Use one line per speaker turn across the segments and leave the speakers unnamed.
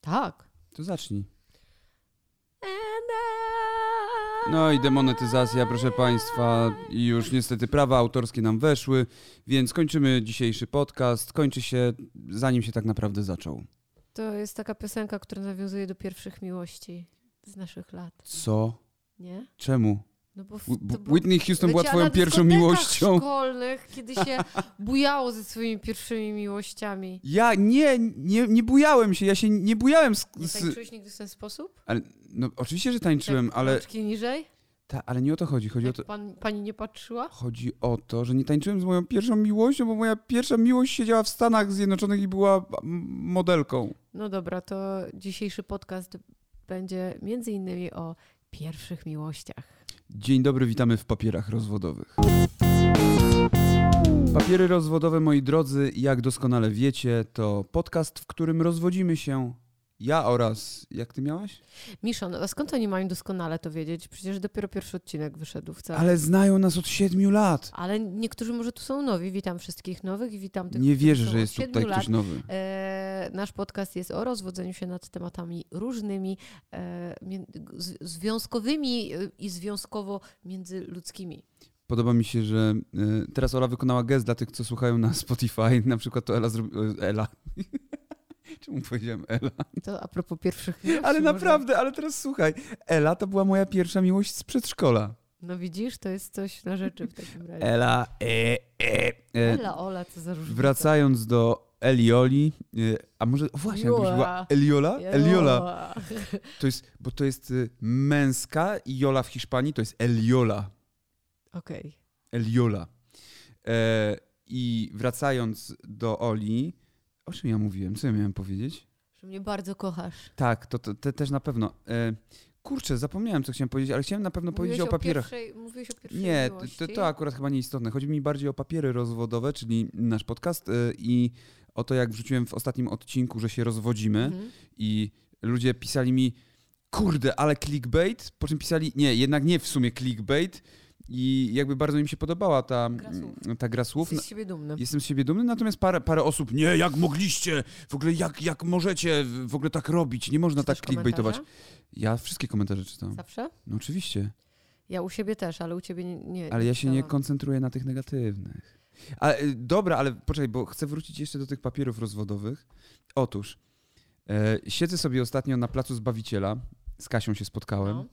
Tak.
To zacznij. No i demonetyzacja, proszę Państwa. I już niestety prawa autorskie nam weszły, więc kończymy dzisiejszy podcast. Kończy się zanim się tak naprawdę zaczął.
To jest taka piosenka, która nawiązuje do pierwszych miłości z naszych lat,
Co?
nie?
Czemu?
No bo w,
Wh-
to było-
Whitney Houston była
Leciała
twoją
na
pierwszą
dyskotekach
miłością.
szkolnych, kiedy się bujało ze swoimi pierwszymi miłościami.
Ja nie, nie, nie bujałem się, ja się nie bujałem z...
Nie
z
tańczyłeś nigdy w ten sposób?
ale, no oczywiście, że tańczyłem,
tak,
ale,
Rączki niżej?
ta, ale nie o to chodzi. Chodzi o
Jak
to,
pan, pani nie patrzyła?
chodzi o to, że nie tańczyłem z moją pierwszą miłością, bo moja pierwsza miłość siedziała w Stanach Zjednoczonych i była m, modelką.
No dobra, to dzisiejszy podcast będzie między innymi o pierwszych miłościach.
Dzień dobry, witamy w papierach rozwodowych. Papiery rozwodowe, moi drodzy, jak doskonale wiecie, to podcast, w którym rozwodzimy się ja oraz. Jak ty miałaś?
Miszon, no, a skąd oni mają doskonale to wiedzieć? Przecież dopiero pierwszy odcinek wyszedł w całym. Ale...
Ale znają nas od siedmiu lat.
niektórzy może tu są nowi. Witam wszystkich nowych i witam tych,
Nie
którzy
wierzę,
są
że
od
jest
siedmiu
tutaj
lat.
ktoś nowy.
E, nasz podcast jest o rozwodzeniu się nad tematami różnymi, e, mię- z, związkowymi e, i związkowo międzyludzkimi.
Podoba mi się, że y, teraz Ola wykonała gest dla tych, co słuchają na Spotify. Na przykład to Ela zrobiła. Ela. Czemu powiedziałem Ela?
To a propos pierwszych.
Ale
miłości
naprawdę, ale teraz słuchaj. Ela to była moja pierwsza miłość z przedszkola.
Może... No widzisz, to jest coś na rzeczy w takim razie.
Ela, e, e, e.
Ela, Ola, co za różnica.
Wracając do Elioli, e, a może o właśnie jakbyś
Jola.
była Eliola?
Ja-
Eliola. To jest, bo to jest y, męska i Jola w Hiszpanii to jest Eliola.
Okej.
Eliola. E, I wracając do Oli, o czym ja mówiłem? Co ja miałem powiedzieć?
Że mnie bardzo kochasz.
Tak, to, to, te- też na pewno. E, kurczę, zapomniałem, co chciałem powiedzieć, ale chciałem na pewno
Mówiłeś
No, powiedzieć o papierach.
Pierwszej, mówiłeś o pierwszej
Nie,
miłości.
to, tak, to akurat chyba nieistotne. Chodzi mi bardziej o papiery rozwodowe, czyli nasz podcast y, i o to, jak wrzuciłem w ostatnim odcinku, że się rozwodzimy
Mhm.
i ludzie pisali mi, kurde, ale clickbait, po czym pisali, nie, jednak nie w sumie clickbait i jakby bardzo im się podobała ta
Gra słów.
mm, ta gra słów.
Jesteś z siebie dumny.
Jestem z siebie dumny, natomiast parę, parę osób, nie, jak mogliście, w ogóle jak, jak możecie w ogóle tak robić, nie można
Czytasz
tak clickbaitować.
komentarze?
Ja wszystkie komentarze czytam.
Zawsze?
No oczywiście.
Ja u siebie też, ale u ciebie nie. nie
Ale ja się nie
czytałam.
koncentruję na tych negatywnych. A, y, dobra, ale poczekaj, bo chcę wrócić jeszcze do tych papierów rozwodowych. Otóż, e, siedzę sobie ostatnio na Placu Zbawiciela. Z Kasią się spotkałem.
No.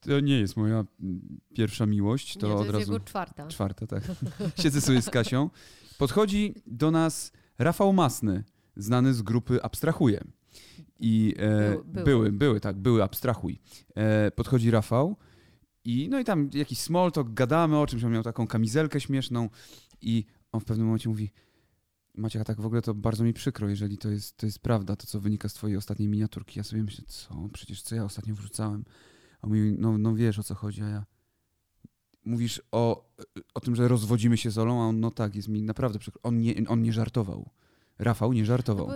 To nie jest moja mm, pierwsza miłość, to,
nie, to
od
jest
razu
jego czwarta.
czwarta, tak. Siedzę sobie z Kasią. Podchodzi do nas Rafał Masny, znany z grupy Abstrahuję. I e,
Był- był.
były, były, tak, były Abstrahuj. E, podchodzi Rafał i no i tam jakiś small talk, gadamy o czymś, on miał taką kamizelkę śmieszną i on w pewnym momencie mówi Maciek, a tak w ogóle to bardzo mi przykro, jeżeli to jest, to jest prawda, to co wynika z twojej ostatniej miniaturki. Ja sobie myślę, co? Przecież co ja ostatnio wrzucałem? A on mówi, no, no wiesz o co chodzi, a ja... Mówisz o, o tym, że rozwodzimy się z Olą, a on, no tak, jest mi naprawdę przykro. On nie, on nie żartował. Rafał nie
No
żartował.
bo,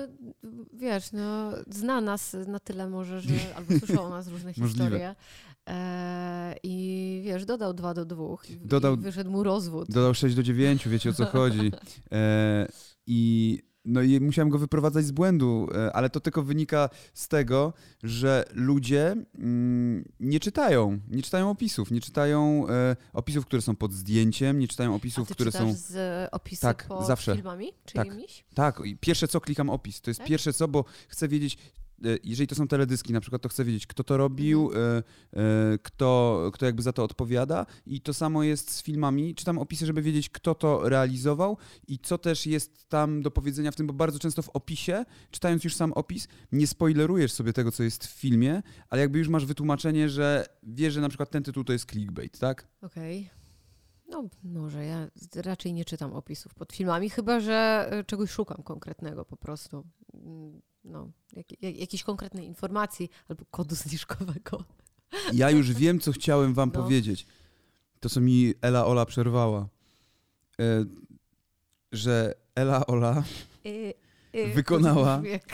wiesz, no, zna nas na tyle może, że albo słyszał o nas różne
Możliwe.
historie. E, I wiesz, dodał dwa do dwóch. I,
Dodał-
i wyszedł mu rozwód.
Dodał 6 do 9, wiecie o co chodzi. E, I no i musiałem go wyprowadzać z błędu, e, ale to tylko wynika z tego, że ludzie mm, nie czytają, nie czytają opisów, nie czytają e, opisów, które są pod zdjęciem, nie czytają
A
opisów,
ty
które
czytasz
są
z opisy
Tak,
pod
zawsze.
filmami? Czyli
Tak.
miś?
tak, i pierwsze co klikam opis. To jest
Tak?
pierwsze co, bo chcę wiedzieć e, jeżeli to są teledyski na przykład, to chcę wiedzieć, kto to robił, e, e, kto, kto jakby za to odpowiada i to samo jest z filmami. Czytam opisy, żeby wiedzieć, kto to realizował i co też jest tam do powiedzenia w tym, bo bardzo często w opisie, czytając już sam opis, nie spoilerujesz sobie tego, co jest w filmie, ale jakby już masz wytłumaczenie, że wiesz, że na przykład ten tytuł to jest clickbait, tak?
Okej. No może, ja z- raczej nie czytam opisów pod filmami, chyba że e, czegoś szukam konkretnego po prostu. Mm, No, jak, jak, jakiejś konkretnej informacji albo kodu zniżkowego.
Ja już wiem, co chciałem wam
No.
powiedzieć. To, co mi Ela Ola przerwała. E, że Ela Ola,
Y, y, to
Wykonała.
brzmi Jak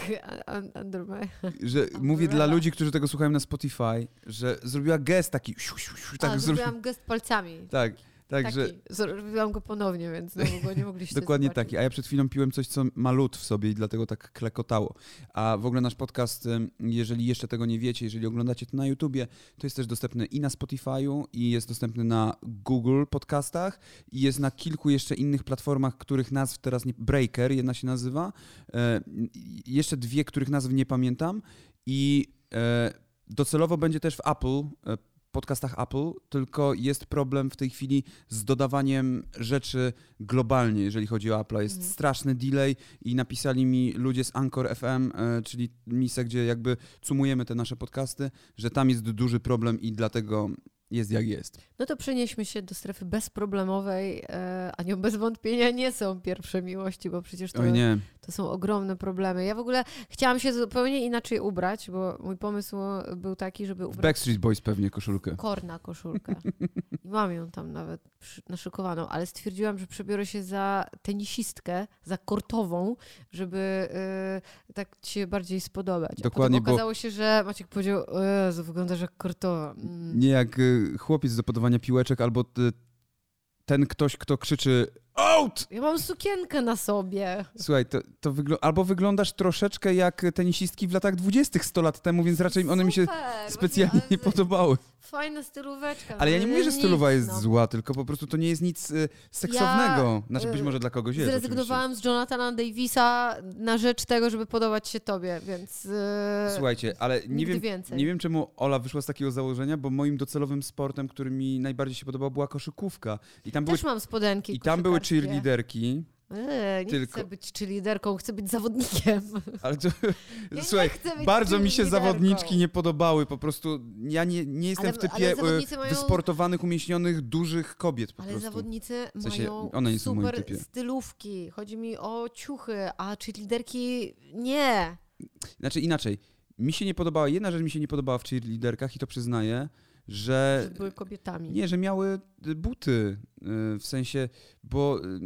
un- Undermine.
że mówię dla
Umbrella.
ludzi, którzy tego słuchają na Spotify, że zrobiła gest taki, siu, siu, siu, tak
A,
zrobiła.
zrobiłam gest palcami.
Tak, Także
Taki. Zrobiłam go ponownie, więc znowu go nie mogliście
dokładnie
zobaczyć.
taki. A ja przed chwilą piłem coś, co ma lód w sobie i dlatego tak klekotało. A w ogóle nasz podcast, em, jeżeli jeszcze tego nie wiecie, jeżeli oglądacie to na YouTubie, to jest też dostępny i na Spotify'u, i jest dostępny na Google Podcastach, i jest na kilku jeszcze innych platformach, których nazw teraz nie... Breaker jedna się nazywa, e, i jeszcze dwie, których nazw nie pamiętam i e, docelowo będzie też w Apple, e, podcastach Apple, tylko jest problem w tej chwili z dodawaniem rzeczy globalnie, jeżeli chodzi o Apple. Jest
Mhm.
straszny delay i napisali mi ludzie z Anchor FM, e, czyli miejsce, gdzie jakby cumujemy te nasze podcasty, że tam jest duży problem i dlatego jest jak jest.
No to przenieśmy się do strefy bezproblemowej, e, a nią bez wątpienia nie są pierwsze miłości, bo przecież to
Oj nie,
To są ogromne problemy. Ja w ogóle chciałam się zupełnie inaczej ubrać, bo mój pomysł był taki, żeby
w
ubrać
Backstreet Boys pewnie koszulkę.
korna koszulkę. I mam ją tam nawet przy- naszykowaną, ale stwierdziłam, że przebiorę się za tenisistkę, za kortową, żeby y, tak ci się bardziej spodobać.
Dokładnie,
A
bo-
potem okazało się, że Maciek powiedział, o Jezu, wyglądasz jak kortowa. Mm.
Nie jak y, chłopiec do podawania piłeczek albo ty- ten ktoś, kto krzyczy OUT!
Ja mam sukienkę na sobie.
Słuchaj, to, to wygl- albo wyglądasz troszeczkę jak tenisistki w latach dwudziestych 100 lat temu, więc raczej one mi się
Super, właśnie,
specjalnie
ale
nie podobały.
Fajna stylóweczka.
Ale ja nie mówię, że
nic,
stylowa jest
no.
zła, tylko po prostu to nie jest nic y, seksownego. Znaczy być
y,
może dla kogoś jest. oczywiście.
Zrezygnowałam z Jonathana Davisa na rzecz tego, żeby podobać się tobie, więc. Yy,
Słuchajcie, ale nie
nigdy
wiem,
więcej.
nie wiem, czemu Ola wyszła z takiego założenia, bo moim docelowym sportem, który mi najbardziej się podobał, była koszykówka. I tam były,
Też mam spodenki.
i tam były
koszykarskie.
cheerleaderki.
Eee, nie
tylko.
chcę być cheerleaderką, chcę być zawodnikiem.
Ale to,
Ja
słuchaj,
nie chcę być
bardzo mi się
cheerleaderką.
zawodniczki nie podobały. Po prostu ja nie, nie jestem
Ale-
w
ale
typie
zawodnicy
e,
mają-
wysportowanych, umieśnionych, dużych kobiet po
Ale
prostu.
zawodnicy
W sensie,
mają
one nie są w moim
super
typie.
stylówki. Chodzi mi o ciuchy, a cheerleaderki nie.
Znaczy inaczej, mi się nie podobała, jedna rzecz mi się nie podobała w cheerleaderkach i to przyznaję, że...
Że były kobietami.
Nie, że miały y, buty, y, w sensie, bo y,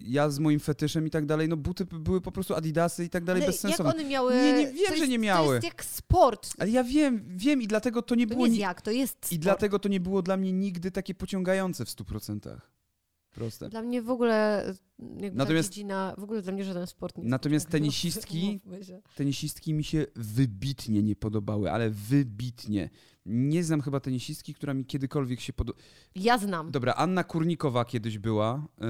ja z moim fetyszem i tak dalej, no buty p- były po prostu adidasy i tak dalej,
Ale
bezsensowne.
Jak one miały.
Nie, nie, wiem,
to
że
jest,
nie miały.
To jest jak sport.
Ale ja wiem, wiem i dlatego to nie
To
było...
nie jest
ni-
jak, to jest sport.
I dlatego to nie było dla mnie nigdy takie pociągające w 100%. Proste.
Dla mnie w ogóle jakby
Natomiast-
ta dziedzina, w ogóle dla mnie żaden sport nie jest
Natomiast
tak, no,
tenisistki-
umówmy się.
Tenisistki mi się wybitnie nie podobały, ale wybitnie. Nie znam chyba tenisistki, która mi kiedykolwiek się podoba.
Ja znam.
Dobra, Anna Kurnikowa kiedyś była. e,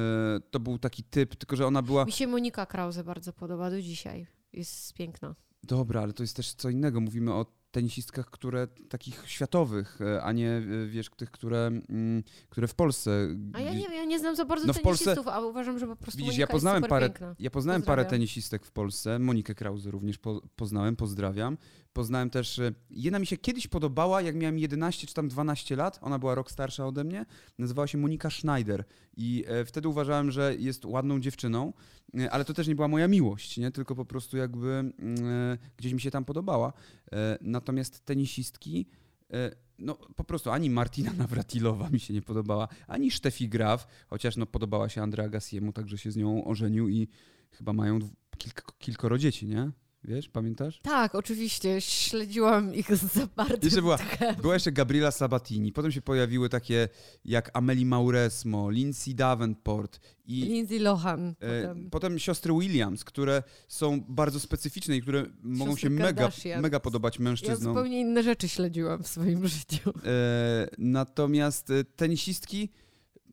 to był taki typ, tylko że ona była.
Mi się Monika Krause bardzo podoba do dzisiaj. Jest piękna.
Dobra, ale to jest też co innego. Mówimy o tenisistkach, które
Mhm.
takich światowych, e, a nie e, wiesz, tych, które, mm, które w Polsce.
A ja
gdzieś-
nie, ja nie znam za bardzo
No w Polsce-
tenisistów, a uważam, że po prostu
Widzisz,
Monika
ja poznałem,
jest super
parę,
piękna.
ja poznałem parę
Pozdrawiam.
tenisistek w Polsce. Monikę Krause również po, poznałem, pozdrawiam. Poznałem też. y, Jedna mi się kiedyś podobała, jak miałem 11 czy tam 12 lat. Ona była rok starsza ode mnie. Nazywała się Monika Schneider. I e, wtedy uważałem, że jest ładną dziewczyną, y, ale to też nie była moja miłość, nie? tylko po prostu jakby mm, gdzieś mi się tam podobała. E, natomiast tenisistki. e, No, po prostu ani Martina Nawratilowa mi się nie podobała, ani Steffi Graf, Chociaż no, podobała się Andrea Gassiemu, także się z nią ożenił i chyba mają dwu- kilk, kilkoro dzieci, nie? Wiesz, pamiętasz?
Tak, oczywiście. Śledziłam ich z zapartym
Jeszcze była-
tchem.
Była jeszcze Gabriela Sabatini, potem się pojawiły takie jak Amelie Mauresmo, Lindsay Davenport i
Lindsay Lohan.
e,
potem.
potem siostry Williams, które są bardzo specyficzne i które mogą się mega,
Kardashian.
mega podobać
Ja
mężczyznom.
zupełnie inne rzeczy śledziłam w swoim życiu.
E, natomiast e, tenisistki.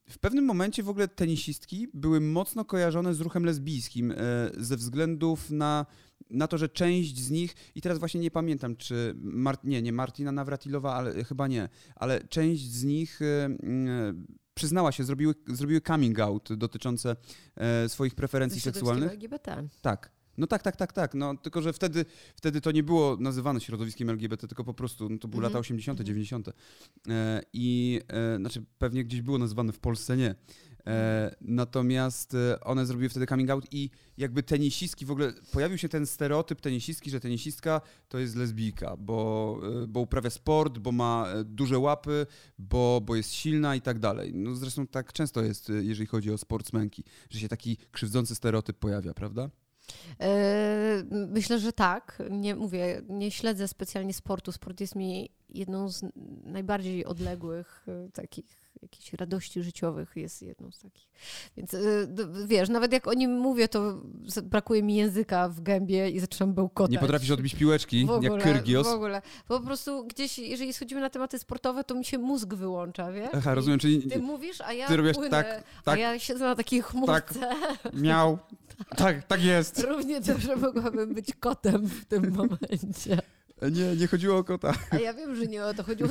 W pewnym momencie w ogóle tenisistki były mocno kojarzone z ruchem lesbijskim e, ze względów na, na to, że część z nich, i teraz właśnie nie pamiętam, czy Mar- nie, nie Martina Nawratilowa, ale e, chyba nie, ale część z nich e, mm, przyznała się, zrobiły, zrobiły coming out dotyczące e, swoich preferencji
Środowisko
seksualnych.
LGBT.
Tak. No tak, tak, tak, tak. No, tylko, że wtedy, wtedy to nie było nazywane środowiskiem LGBT, tylko po prostu no, to były
Mhm.
lata 80.,
Mhm.
90. E, I e, znaczy pewnie gdzieś było nazywane w Polsce nie.
Mhm.
E, natomiast e, one zrobiły wtedy coming out i jakby tenisistki, w ogóle pojawił się ten stereotyp tenisistki, że tenisistka to jest lesbijka, bo, e, bo uprawia sport, bo ma e, duże łapy, bo, bo jest silna i tak dalej. No, zresztą tak często jest, e, jeżeli chodzi o sportsmenki, że się taki krzywdzący stereotyp pojawia, prawda?
E, Myślę, że tak. Nie mówię, nie śledzę specjalnie sportu. Sport jest mi jedną z najbardziej odległych e, takich jakichś radości życiowych jest jedną z takich. Więc y, d- wiesz, nawet jak o nim mówię, to z- brakuje mi języka w gębie i zaczynam bełkotać.
Nie potrafisz odbić piłeczki,
w ogóle,
jak Kyrgios.
W ogóle. Po prostu gdzieś, jeżeli schodzimy na tematy sportowe, to mi się mózg wyłącza, wiesz?
Aha,
I
rozumiem, czyli
Ty mówisz, a ja
E, ty robisz
płynę,
tak,
a
tak.
ja siedzę na takiej chmurce.
miał. Tak, tak jest.
Równie dobrze mogłabym być kotem w tym momencie.
Nie, nie chodziło o kota.
A ja wiem, że nie o to chodziło.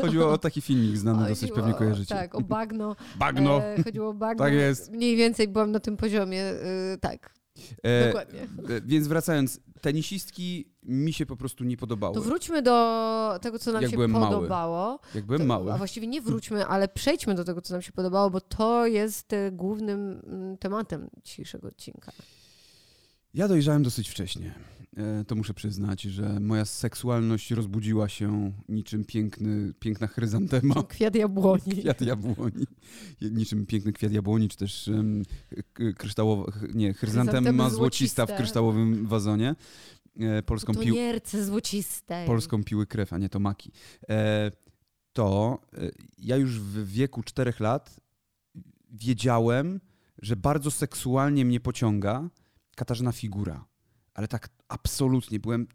Chodziło o taki filmik znany No, dosyć,
Chodziło
pewnie
o-
kojarzycie.
Tak, o bagno.
Bagno.
E, chodziło o bagno.
Tak jest.
Mniej więcej byłam na tym poziomie, y, tak,
E,
dokładnie.
e, więc wracając, tenisistki mi się po prostu nie podobały.
To wróćmy do tego, co nam
Jak
się
byłem mały.
podobało.
Jak byłem
To-
mały.
A właściwie nie wróćmy, ale przejdźmy do tego, co nam się podobało, bo to jest e, głównym mm, tematem dzisiejszego odcinka.
Ja dojrzałem dosyć wcześnie. E, To muszę przyznać, że moja seksualność rozbudziła się niczym piękny, piękna chryzantema.
Kwiat jabłoni.
Kwiat jabłoni. Niczym piękny kwiat jabłoni, czy też um, kryształowa, ch- nie, chryzantema
Chryzantemy
złocista w
złociste.
kryształowym wazonie. E, Polską, pił,
Pionierce złocistej.
polską piły krew, a nie tomaki. E, to e, ja już w wieku czterech lat wiedziałem, że bardzo seksualnie mnie pociąga Katarzyna Figura. Ale tak absolutnie byłem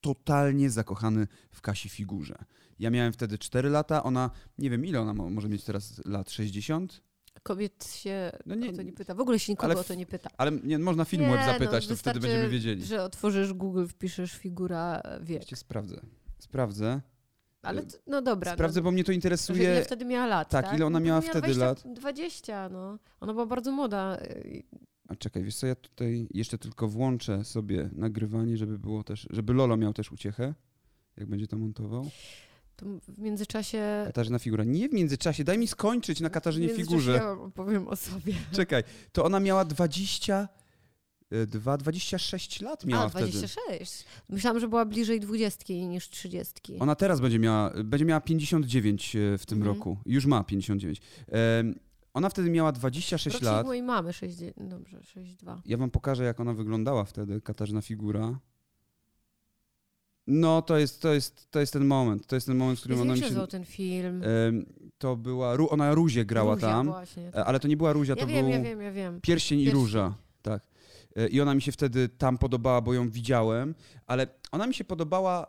totalnie zakochany w Kasi Figurze. Ja miałem wtedy 4 lata, ona, nie wiem ile ona mo- może mieć teraz lat, 60?
Kobiet się
No
o
nie-
to nie pyta. W ogóle się nikogo
ale
o to nie pyta.
Ale nie, można film
Nie,
web zapytać,
no,
to wtedy
wystarczy,
będziemy wiedzieli.
Że otworzysz Google, wpiszesz figura wiek.
Oczywiście Sprawdzę, sprawdzę.
Ale t- no dobra.
Sprawdzę,
no,
bo mnie to
trochę ile
interesuje.
wtedy miała lat, tak?
Tak, ile ona
No,
miała
miała
wtedy
20,
lat?
20, no. Ona była bardzo młoda. y,
A czekaj, wiesz co, ja tutaj jeszcze tylko włączę sobie nagrywanie, żeby było też, żeby Lolo miał też uciechę, jak będzie to montował.
To w międzyczasie...
Katarzyna Figura. Nie w międzyczasie, daj mi skończyć na Katarzynie
E, w międzyczasie
Figurze.
Ja opowiem o sobie.
Czekaj, to ona miała e, 20... 2, 26 lat miała
A,
wtedy.
26. Myślałam, że była bliżej 20 niż 30.
Ona teraz będzie miała, będzie miała 59 e, w tym
Mhm.
roku. Już ma 59. Em, Ona wtedy miała 26
Rocznik
lat.
mojej mamy 6, dobrze, 6,2.
Ja wam pokażę, jak ona wyglądała wtedy, Katarzyna Figura. No, to jest, to jest, to jest ten moment. To jest ten moment, w którym
Jezu,
ona
Jak
mi
się
się...
nazywał ten film?
Em, To była... Ru- Ona Ruzie grała
Róża
tam,
Właśnie,
e, ale to nie była Ruzia,
Ja,
to
wiem,
był
ja wiem, ja wiem.
Pierścień i
Pierścień.
Róża. Tak. E, I ona mi się wtedy tam podobała, bo ją widziałem, ale ona mi się podobała...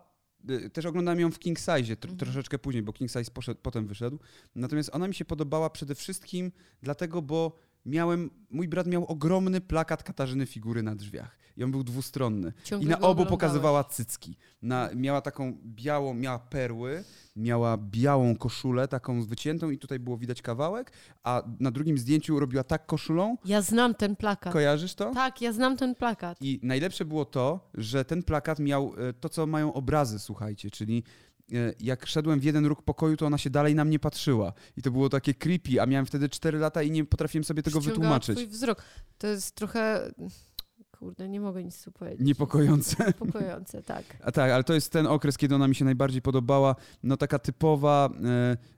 e, Też oglądałem ją w King Size tr-
Mhm.
troszeczkę później, bo King Size poszedł, potem wyszedł. Natomiast ona mi się podobała przede wszystkim dlatego, bo miałem, mój brat miał ogromny plakat Katarzyny Figury na drzwiach. I on był dwustronny. I
Ciągle
na
go
obu
oglądałeś.
pokazywała cycki. Na, miała taką białą, miała perły, miała białą koszulę, taką wyciętą i tutaj było widać kawałek, a na drugim zdjęciu robiła tak koszulą.
Ja znam ten plakat.
Kojarzysz to?
Tak, ja znam ten plakat.
I najlepsze było to, że ten plakat miał e, to, co mają obrazy, słuchajcie, czyli e, jak szedłem w jeden róg pokoju, to ona się dalej na mnie patrzyła. I to było takie creepy, a miałem wtedy 4 lata i nie potrafiłem sobie tego
Przyciągała
wytłumaczyć.
Twój wzrok. To jest trochę... Kurde, nie mogę nic tu powiedzieć.
Niepokojące.
Niepokojące, tak.
A tak, ale to jest ten okres, kiedy ona mi się najbardziej podobała. No taka typowa.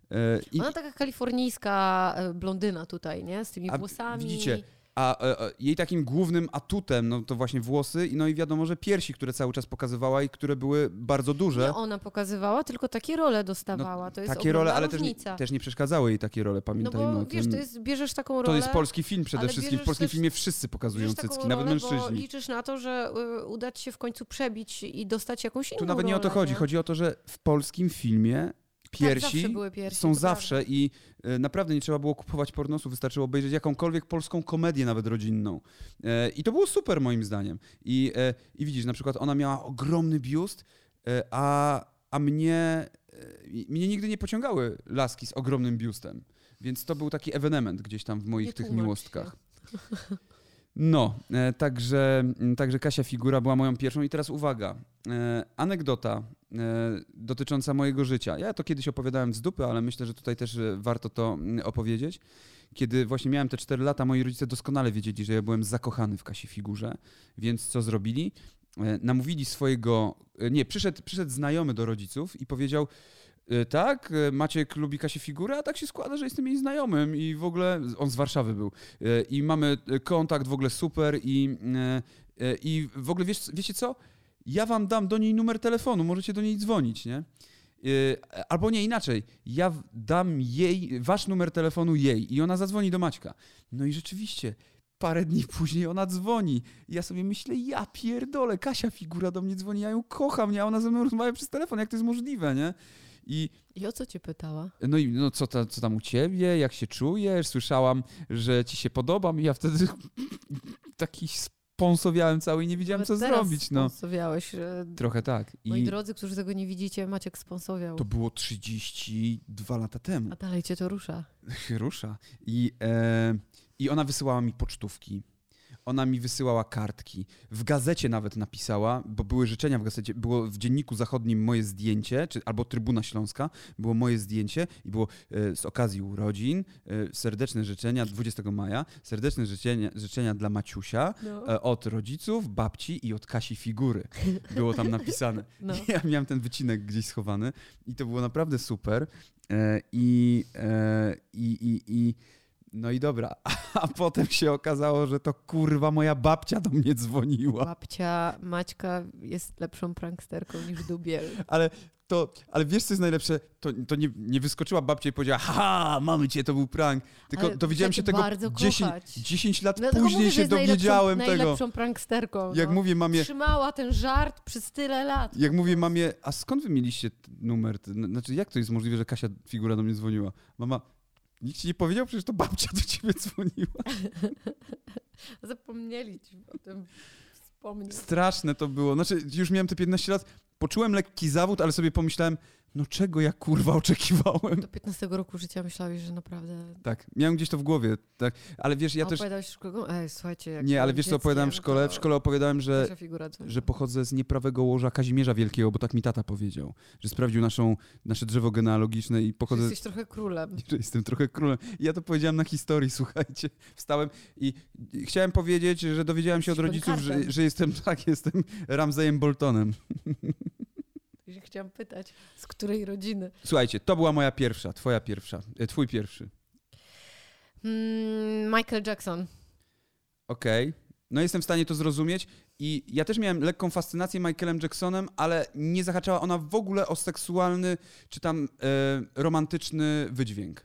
E, e, i,
Ona taka kalifornijska e, blondyna tutaj, nie? Z tymi
A
włosami.
widzicie, a e, e, jej takim głównym atutem, no to właśnie włosy, i no i wiadomo, że piersi, które cały czas pokazywała i które były bardzo duże.
Nie ona pokazywała, tylko takie role dostawała. to jest
No, takie role,
ogromna
ale też nie,
różnica.
też nie przeszkadzały jej takie role,
No
pamiętajmy o
bo
tym.
wiesz, to jest, bierzesz taką rolę...
To jest polski film przede
ale
wszystkim. W
bierzesz
polskim
też-
filmie wszyscy pokazują
bierzesz taką
cycki,
rolę,
nawet
Bo
mężczyźni.
liczysz na to, że y, uda ci się w końcu przebić i dostać jakąś inną
Tu nawet nie o to
rolę,
chodzi. Chodzi o to, że w polskim filmie
tak, zawsze
piersi
były piersi
są
to prawda.
zawsze i e, naprawdę nie trzeba było kupować pornosu, wystarczyło obejrzeć jakąkolwiek polską komedię, nawet rodzinną. E, I to było super moim zdaniem. I, e, i widzisz, na przykład ona miała ogromny biust, e, a, a mnie, e, i- mnie nigdy nie pociągały laski z ogromnym biustem. Więc to był taki ewenement gdzieś tam w moich
Nie
tych
tłumacz
miłostkach. No, e, także, m, także Kasia Figura była moją pierwszą. I teraz uwaga, e, anegdota e, dotycząca mojego życia. Ja to kiedyś opowiadałem z dupy, ale myślę, że tutaj też e, warto to mm, opowiedzieć. Kiedy właśnie miałem te 4 lata, moi rodzice doskonale wiedzieli, że ja byłem zakochany w Kasi Figurze, więc co zrobili? E, Namówili swojego. e, Nie, przyszedł, przyszedł znajomy do rodziców i powiedział: E, Tak, e, Maciek lubi Kasię Figurę, a tak się składa, że jestem jej znajomym i w ogóle on z Warszawy był. E, I mamy e, kontakt w ogóle super i, e, e, i w ogóle wiesz, wiecie co? Ja wam dam do niej numer telefonu, możecie do niej dzwonić, nie? Yy, albo nie inaczej, ja w- dam jej, wasz numer telefonu jej i ona zadzwoni do Maćka. No i rzeczywiście, parę dni później ona dzwoni. I ja sobie myślę, ja pierdolę, Kasia Figura do mnie dzwoni, ja ją kocham, nie? a ona ze mną rozmawia przez telefon, jak to jest możliwe, nie? I
I o co cię pytała?
no i no, co, ta, co tam u ciebie, jak się czujesz, słyszałam, że ci się podobam i ja wtedy taki sponsowiałem cały i nie wiedziałem,
Nawet
co
teraz
zrobić, no.
sponsowiałeś, e,
Trochę tak.
Moi
I
drodzy, którzy tego nie widzicie, Maciek sponsowiał.
to było 32 lata temu.
A dalej cię to rusza.
się rusza. I, e, I ona wysyłała mi pocztówki. Ona mi wysyłała kartki. W gazecie nawet napisała, bo były życzenia w gazecie. Było w dzienniku zachodnim moje zdjęcie, czy, albo Trybuna Śląska, było moje zdjęcie i było e, z okazji urodzin e, serdeczne życzenia 20 maja, serdeczne życzenia, życzenia dla Maciusia
No.
e, od rodziców, babci i od Kasi Figury. Było tam napisane.
No.
Ja miałem ten wycinek gdzieś schowany i to było naprawdę super. E, I, e, i, i, i no i dobra. A potem się okazało, że to kurwa moja babcia do mnie dzwoniła.
Babcia Maćka jest lepszą pranksterką niż Dubiel.
Ale to, ale wiesz co jest najlepsze? To, to nie, nie wyskoczyła babcia i powiedziała, haha, mamy cię, to był prank. Tylko
Ale
dowiedziałem się
chcę cię
tego
bardzo
10,
kochać.
10 lat
Dlatego
później
No mówię, że
się
jest
dowiedziałem
najlepszą,
tego.
Najlepszą pranksterką.
Jak
no.
mówię mamie,
Trzymała ten żart przez tyle lat.
Jak mówię mamie, a skąd wy mieliście t- numer? T- n- Znaczy, jak to jest możliwe, że Kasia figura do mnie dzwoniła? Mama, nikt ci nie powiedział, przecież to babcia do ciebie dzwoniła.
Tak. Zapomnieli ci o tym wspomnieć.
Straszne to było. Znaczy, już miałem te 15 lat, poczułem lekki zawód, ale sobie pomyślałem, no czego ja kurwa oczekiwałem?
Do 15 roku życia myślałeś, że naprawdę...
Tak, miałem gdzieś to w głowie, tak. Ale wiesz, ja
A
też.
Opowiadałeś w szkole? Ej, słuchajcie, jak
Nie, ale
byłem
wiesz co opowiadałem w
dzieckiem,
szkole?
to
W szkole opowiadałem, że
pierwsza figura dzwoniła.
że pochodzę z nieprawego łoża Kazimierza Wielkiego, bo tak mi tata powiedział, że sprawdził naszą, nasze drzewo genealogiczne i
Że
pochodzę
Jesteś trochę królem.
że jestem trochę królem. I Ja to powiedziałem na historii, słuchajcie. Wstałem i i chciałem powiedzieć, że dowiedziałem się od
Jesteś
rodziców, że,
Bonkartem.
że jestem, tak, jestem Ramzejem Boltonem.
Ja się Chciałam pytać, z której rodziny?
Słuchajcie, to była moja pierwsza, twoja pierwsza, e, twój pierwszy.
Mm, Michael Jackson.
Okej. No jestem w stanie to zrozumieć i ja też miałem lekką fascynację Michaelem Jacksonem, ale nie zahaczała ona w ogóle o seksualny czy tam e, romantyczny wydźwięk.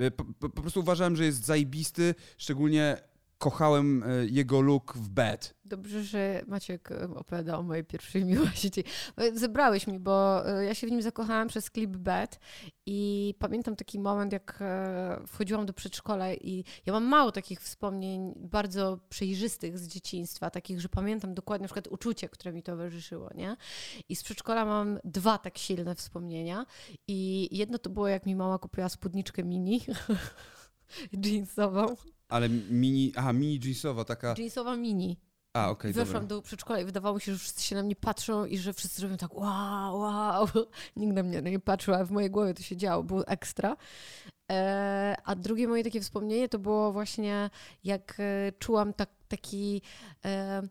E, Po, po, po prostu uważałem, że jest zajbisty, szczególnie kochałem e, jego look w bed.
Dobrze, że Maciek e, opowiada o mojej pierwszej miłości. E, Zebrałeś mi, bo e, ja się w nim zakochałam przez klip Bad i pamiętam taki moment, jak e, wchodziłam do przedszkola i ja mam mało takich wspomnień bardzo przejrzystych z dzieciństwa, takich, że pamiętam dokładnie na przykład uczucie, które mi towarzyszyło, nie? I z przedszkola mam dwa tak silne wspomnienia i jedno to było, jak mi mama kupiła spódniczkę mini, jeansową,
Ale mini, aha, mini jeansowa, taka,
jeansowa mini.
a okej,
I weszłam
dobra.
do przedszkola i wydawało mi się, że wszyscy się na mnie patrzą i że wszyscy robią tak wow, wow. Nikt na mnie nie patrzył, ale w mojej głowie to się działo, było ekstra. E, a drugie moje takie wspomnienie to było właśnie jak e, czułam tak, taki... E,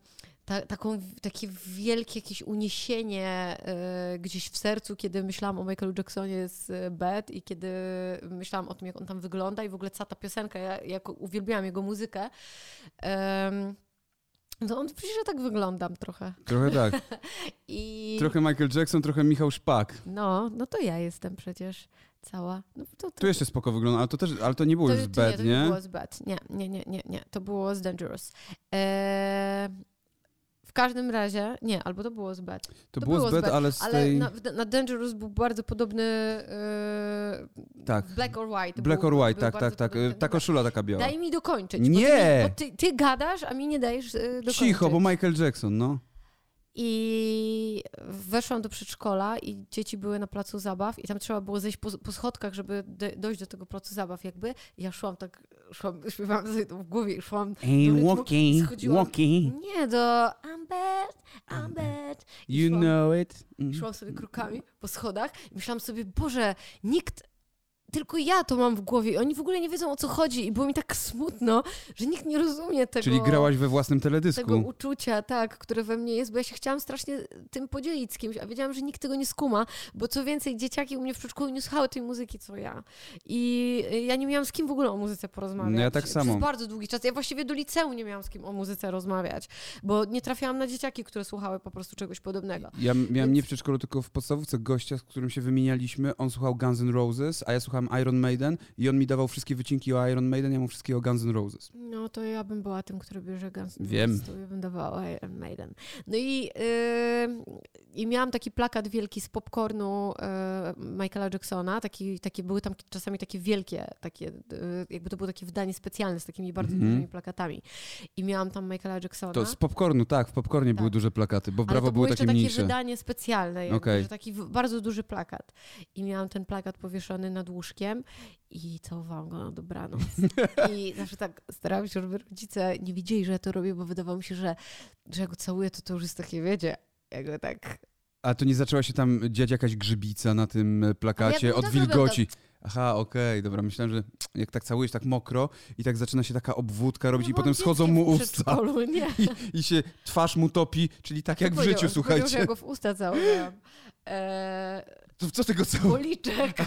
ta, taką, takie wielkie jakieś uniesienie e, gdzieś w sercu, kiedy myślałam o Michaelu Jacksonie z e, Bad i kiedy myślałam o tym, jak on tam wygląda i w ogóle cała ta piosenka, ja, jak uwielbiałam jego muzykę. Em, no on przecież ja tak wyglądam trochę.
Trochę tak.
I
Trochę Michael Jackson, trochę Michał Szpak.
no, no to ja jestem przecież cała. No to, to,
Tu jeszcze spoko wygląda, ale to, też, ale to nie było
to,
już
to
zbędnie.
nie, to nie było z Bad. Nie, nie, nie, nie, nie. To było z Dangerous. E, w każdym razie, nie, albo to było z Bad.
to,
to
było
było
zbęd,
zbęd,
ale z
Ale no,
tej...
na, w- na Dangerous był bardzo podobny e,
tak,
Black or White.
black
był,
or white,
był
tak,
bardzo
tak, tak.
podobny.
e, Ta koszula taka biała.
Daj mi dokończyć.
Nie!
Bo ty, mi, bo ty, ty gadasz, a mi nie dajesz e, dokończyć.
Cicho, bo Michael Jackson, no.
I weszłam do przedszkola i dzieci były na placu zabaw i tam trzeba było zejść po, po schodkach, żeby de, dojść do tego placu zabaw jakby. I ja szłam tak, szłam, śpiewałam sobie to w głowie i szłam,
Hey,
rytmu
walking,
schodziłam.
walking,
nie, do I'm bad, I'm bad. I
you
szłam,
know it. Mm.
szłam sobie krokami po schodach i myślałam sobie, Boże, nikt tylko ja to mam w głowie i oni w ogóle nie wiedzą o co chodzi i było mi tak smutno, że nikt nie rozumie tego.
Czyli grałaś we własnym
tego
teledysku.
uczucia, tak, które we mnie jest, bo ja się chciałam strasznie tym podzielić z kimś, a wiedziałam, że nikt tego nie skuma, bo co więcej, dzieciaki u mnie w przedszkolu nie słuchały tej muzyki, co ja. I y, ja nie miałam z kim w ogóle o muzyce porozmawiać.
No ja tak samo.
Przez bardzo długi czas. Ja właściwie do liceum nie miałam z kim o muzyce rozmawiać, bo nie trafiałam na dzieciaki, które słuchały po prostu czegoś podobnego.
Ja m- miałem
Więc-
nie w przedszkolu, tylko w podstawówce gościa, z którym się wymienialiśmy. On słuchał Guns N' Roses, a ja słuchałem Iron Maiden i on mi dawał wszystkie wycinki o Iron Maiden, ja mu wszystkie o Guns N' Roses.
No to ja bym była tym, który bierze Guns N'
Wiem.
Roses, to ja bym dawała Iron Maiden. No i, yy, i miałam taki plakat wielki z popcornu yy, Michaela Jacksona, taki, takie, były tam czasami takie wielkie, takie, yy, jakby to było takie wydanie specjalne z takimi bardzo
Mhm.
dużymi plakatami. I miałam tam Michaela Jacksona.
To z popcornu, tak, w popcornie
Tak.
były duże plakaty, bo w Brawo
Ale to
były
było
takie
jeszcze takie
mniejsze.
wydanie specjalne, jakby,
Okej.
że taki w- bardzo duży plakat. I miałam ten plakat powieszony nad łóżkiem i całowałam go na dobranoc. I zawsze tak starałam się, żeby rodzice nie widzieli, że ja to robię, bo wydawało mi się, że, że jak go całuję, to to już jest takie, wiecie, jakby tak...
A to nie zaczęła się tam dziać jakaś grzybica na tym e,
Ale
plakacie
ja
od
tak
wilgoci. Aha, okej, dobra, myślałem, że jak tak całujesz tak mokro i tak zaczyna się taka obwódka robić
Ja
i
byłam
potem schodzą
dzieckiem
mu
No w
usta
przedszkolu, Nie.
i, i się twarz mu topi, czyli tak jak w
Powiedział-
życiu,
powiedział, że ja
słuchajcie.
go w usta całowałam. Eee,
To co tego całujesz?
policzek.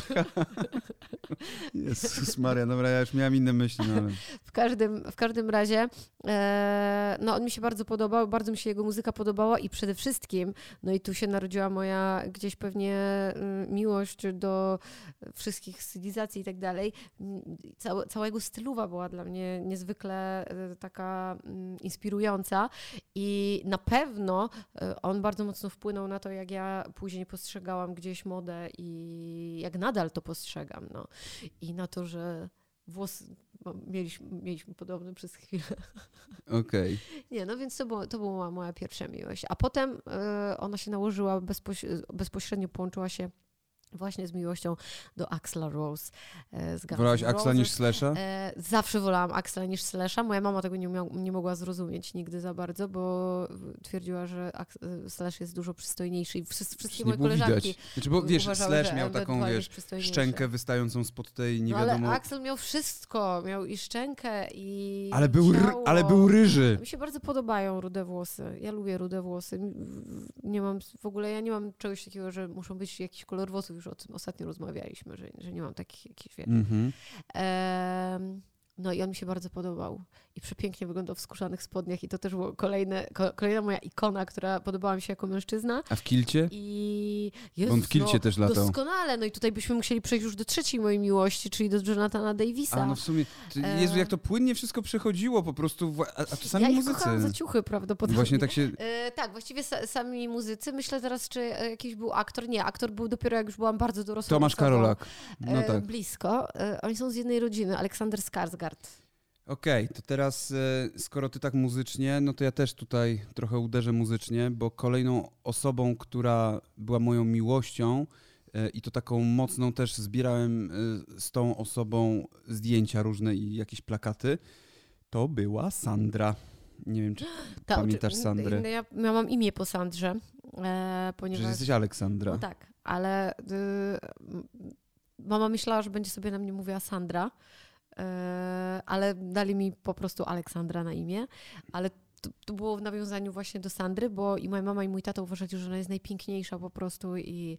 Jezus Maria, dobra, ja już miałem inne myśli, no ale...
W każdym, w każdym razie, e, no on mi się bardzo podobał, bardzo mi się jego muzyka podobała i przede wszystkim, no i tu się narodziła moja gdzieś pewnie mm, miłość do wszystkich stylizacji i tak dalej. Mm, Cała, cała jego stylowa była dla mnie niezwykle e, taka mm, inspirująca i na pewno e, on bardzo mocno wpłynął na to, jak ja później postrzegałam gdzieś modę i jak nadal to postrzegam, no. I na to, że włosy bo mieliśmy, mieliśmy podobne przez chwilę.
Okej.
Nie, no więc to, było, to była moja pierwsza miłość. A potem e, ona się nałożyła, bezpoś, bezpośrednio połączyła się właśnie z miłością do Axla Rose. e, z Guns N'
Wolałaś Axla
Roses.
niż Slasha?
E, zawsze wolałam Axla niż Slasha. Moja mama tego nie, miał, nie mogła zrozumieć nigdy za bardzo, bo twierdziła, że Ax, e, Slash jest dużo przystojniejszy i wszyscy, wszystkie
Czy nie
moje
było
koleżanki
widać? Znaczy, bo wiesz,
uważały,
Slash
że
miał
MB2
taką,
jest
wiesz,
przystojniejszy.
szczękę wystającą spod tej, nie
No,
wiadomo...
Ale Axel miał wszystko. Miał i szczękę, i.
Ale był, ry-
ciało.
ale był ryży.
Mi się bardzo podobają rude włosy. Ja lubię rude włosy. M- w- Nie mam w ogóle, ja nie mam czegoś takiego, że muszą być jakiś kolor włosów. Już o tym ostatnio rozmawialiśmy, że, że nie mam takich jakichś wie.
Mhm.
Em, no i on mi się bardzo podobał. I przepięknie wyglądał w skórzanych spodniach. I to też było kolejne, ko, kolejna moja ikona, która podobała mi się jako mężczyzna.
A w kilcie?
I Jezus,
On w kilcie
no,
też latał.
Doskonale. No i tutaj byśmy musieli przejść już do trzeciej mojej miłości, czyli do Jonathana Davisa.
A no w sumie, ty,
E.
Jezu, jak to płynnie wszystko przechodziło po prostu, w, a, a to sami
ja ich kochałam za
muzycy.
ciuchy prawdopodobnie.
Właśnie tak się,
E, tak, właściwie sa, sami muzycy. Myślę teraz, czy e, jakiś był aktor. Nie, aktor był dopiero jak już byłam bardzo dorosła.
Tomasz
osobą.
Karolak. No
E,
tak.
Blisko. E, oni są z jednej rodziny, Aleksander Skarsgard.
Okej, to teraz e, skoro ty tak muzycznie, no to ja też tutaj trochę uderzę muzycznie, bo kolejną osobą, która była moją miłością e, i to taką mocną też zbierałem e, z tą osobą zdjęcia różne i jakieś plakaty, to była Sandra. Nie wiem, czy,
Ta-
Pamiętasz
czy-
Sandrę?
Ja, ja mam imię po Sandrze, e,
czy
ponieważ...
jesteś Aleksandra.
No tak, ale y, m- mama myślała, że będzie sobie na mnie mówiła Sandra, y, ale dali mi po prostu Aleksandra na imię, ale to, to było w nawiązaniu właśnie do Sandry, bo i moja mama i mój tata uważali, że ona jest najpiękniejsza po prostu i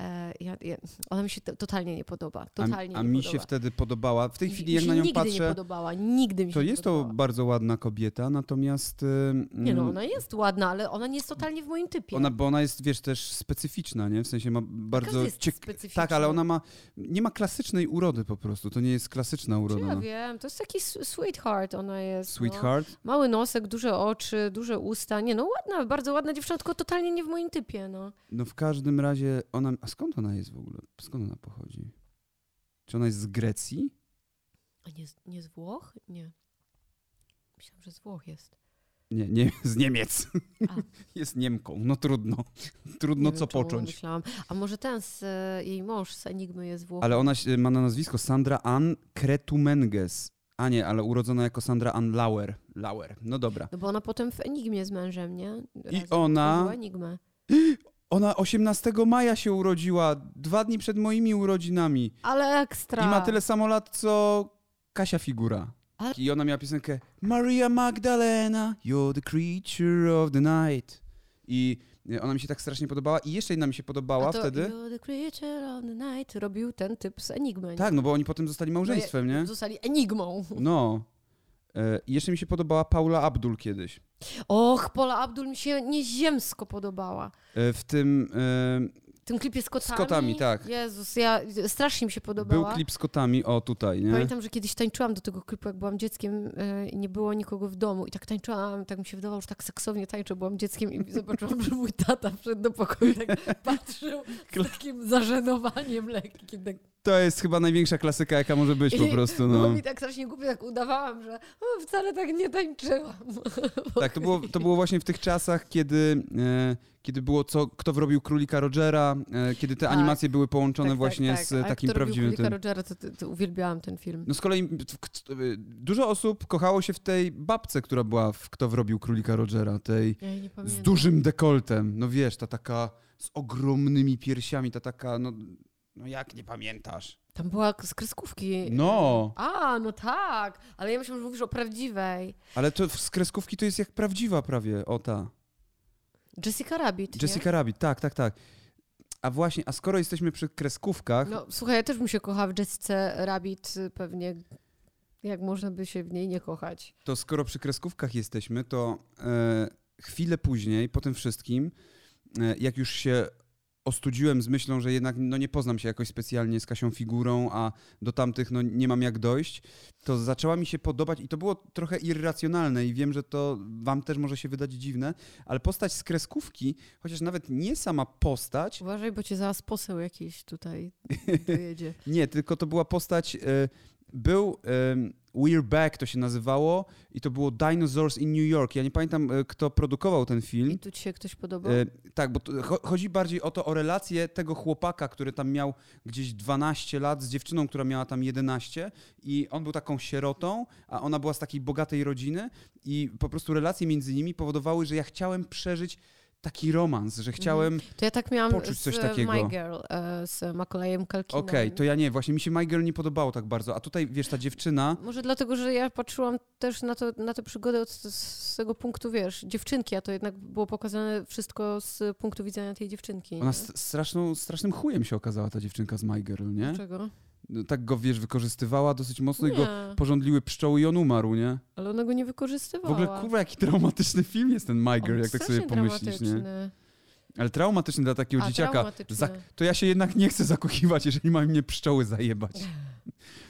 e, ja, ja, ona mi się to- totalnie nie podoba.
A,
Totalnie
a
nie
mi
podoba.
się wtedy podobała. W tej
Mi-
chwili,
mi
jak
się
na nią
nigdy nie
patrzę,
podobała, nigdy mi się
to
nie
jest to
podobała.
bardzo ładna kobieta, natomiast. e,
Nie no,
mm,
ona jest ładna, ale ona nie jest totalnie w moim typie.
Ona, bo ona jest, wiesz, też specyficzna, nie? W sensie ma bardzo...
jest
ciek-
specyficzna.
Tak, ale ona ma... Nie ma klasycznej urody po prostu. To nie jest klasyczna
Czy
uroda.
ja
no.
wiem, to jest taki s- sweetheart ona jest. No.
Sweetheart?
Mały nosek, duże oczy, duże usta. Nie, no ładna, bardzo ładna dziewczyna, tylko totalnie nie w moim typie, no.
No w każdym razie ona... A skąd ona jest w ogóle? Skąd ona pochodzi? Czy ona jest z Grecji?
A nie, z- nie z Włoch? Nie. Myślałam, że z Włoch jest.
Nie, nie z Niemiec.
A.
jest Niemką. No trudno. Trudno
nie wiem,
No co
czemu
począć.
Myślałam. A może ten z, e, jej mąż z Enigmy jest z Włoch?
Ale ona się, ma na nazwisko Sandra Ann Kretumenges. A nie, ale urodzona jako Sandra Ann Lauer. Lauer. No dobra.
No bo ona potem w Enigmie z mężem, nie?
I ona-
tworzyła Enigmę.
Ona 18 maja się urodziła, dwa dni przed moimi urodzinami.
Ale ekstra.
I ma tyle samo lat, co Kasia Figura.
Ale-
I ona miała piosenkę Maria Magdalena, you're the creature of the night. I y, ona mi się tak strasznie podobała. I jeszcze jedna mi się podobała
A to
wtedy.
You're the creature of the night robił ten typ z Enigmy. nie?
Tak, no bo oni potem zostali małżeństwem, nie?
Zostali Enigmą.
No. E, I jeszcze mi się podobała Paula Abdul kiedyś.
Och, Pola Abdul mi się nieziemsko podobała.
E, W tym e,
W tym klipie z kotami.
kotami, tak.
Jezus, ja strasznie mi się podobała.
był klip z kotami, o tutaj, nie?
Pamiętam, że kiedyś tańczyłam do tego klipu, jak byłam dzieckiem e, i nie było nikogo w domu. I tak tańczyłam, tak mi się wydawało, że tak seksownie tańczę. Byłam dzieckiem i zobaczyłam, że mój tata wszedł do pokoju i tak patrzył z takim zażenowaniem lekkim. Tak.
To jest chyba największa klasyka, jaka może być po
I
prostu,
Było
no.
mi tak strasznie głupio, tak udawałam, że o, wcale tak nie tańczyłam.
Tak, to było, to było właśnie w tych czasach, kiedy, e, kiedy było co, kto wrobił królika Rogera, e, kiedy te
Tak.
animacje były połączone
tak,
właśnie
tak,
z
tak. A
takim
kto robił
prawdziwym
Królika
tym.
Rogera, to, to, to uwielbiałam ten film.
No z kolei w- k- y, dużo osób kochało się w tej babce, która była w kto wrobił królika Rogera, tej
Ja jej nie pamiętam.
z dużym dekoltem. No wiesz, ta taka z ogromnymi piersiami, ta taka, no, no jak nie pamiętasz?
Tam była z kreskówki.
No,
A, no tak, ale ja myślałam, że mówisz o prawdziwej.
ale to w- z kreskówki to jest jak prawdziwa prawie, o ta.
Jessica Rabbit, nie?
Jessica Rabbit, tak, tak, tak. A właśnie, a skoro jesteśmy przy kreskówkach,
No, słuchaj, ja też bym się kochała w Jessice Rabbit y, pewnie. Jak można by się w niej nie kochać?
To skoro przy kreskówkach jesteśmy, to e, chwilę później, po tym wszystkim, e, jak już się ostudziłem z myślą, że jednak no, nie poznam się jakoś specjalnie z Kasią Figurą, a do tamtych no, nie mam jak dojść, to zaczęła mi się podobać i to było trochę irracjonalne i wiem, że to wam też może się wydać dziwne, ale postać z kreskówki, chociaż nawet nie sama postać,
Uważaj, bo cię zaraz poseł jakiś tutaj dojedzie.
Nie, tylko to była postać. e, był em, We're Back, to się nazywało, i to było Dinosaurs in New York. Ja nie pamiętam, e, kto produkował ten
I
film.
tu ci się ktoś podobał?
E, tak, bo to, cho- chodzi bardziej o to, o relację tego chłopaka, który tam miał gdzieś 12 lat z dziewczyną, która miała tam 11 i on był taką sierotą, a ona była z takiej bogatej rodziny i po prostu relacje między nimi powodowały, że ja chciałem przeżyć taki romans, że chciałem...
To ja tak miałam
poczuć
z
coś
e,
takiego.
My Girl, e, z Macaulayem Kalkinem.
Okej, to ja nie, właśnie mi się My Girl nie podobało tak bardzo, a tutaj, wiesz, ta dziewczyna...
Może dlatego, że ja patrzyłam też na, to, na tę przygodę od, z z tego punktu, wiesz, dziewczynki, a to jednak było pokazane wszystko z punktu widzenia tej dziewczynki.
Ona
nie?
s- straszną, strasznym chujem się okazała, ta dziewczynka z My Girl, nie?
Dlaczego?
No, Tak go, wiesz, wykorzystywała dosyć mocno i go
Znaczy- Nie,
porządliły pszczoły i on umarł, nie?
ale ona go nie
W
wykorzystywała.
ogóle, kurwa, jaki traumatyczny film jest ten My
On
Girl, jak tak
strasznie
sobie pomyślisz, nie?
traumatyczny.
Ale traumatyczny dla takiego
A,
dzieciaka.
traumatyczny.
Za, to ja się jednak nie chcę zakochiwać, jeżeli mają mnie pszczoły zajebać.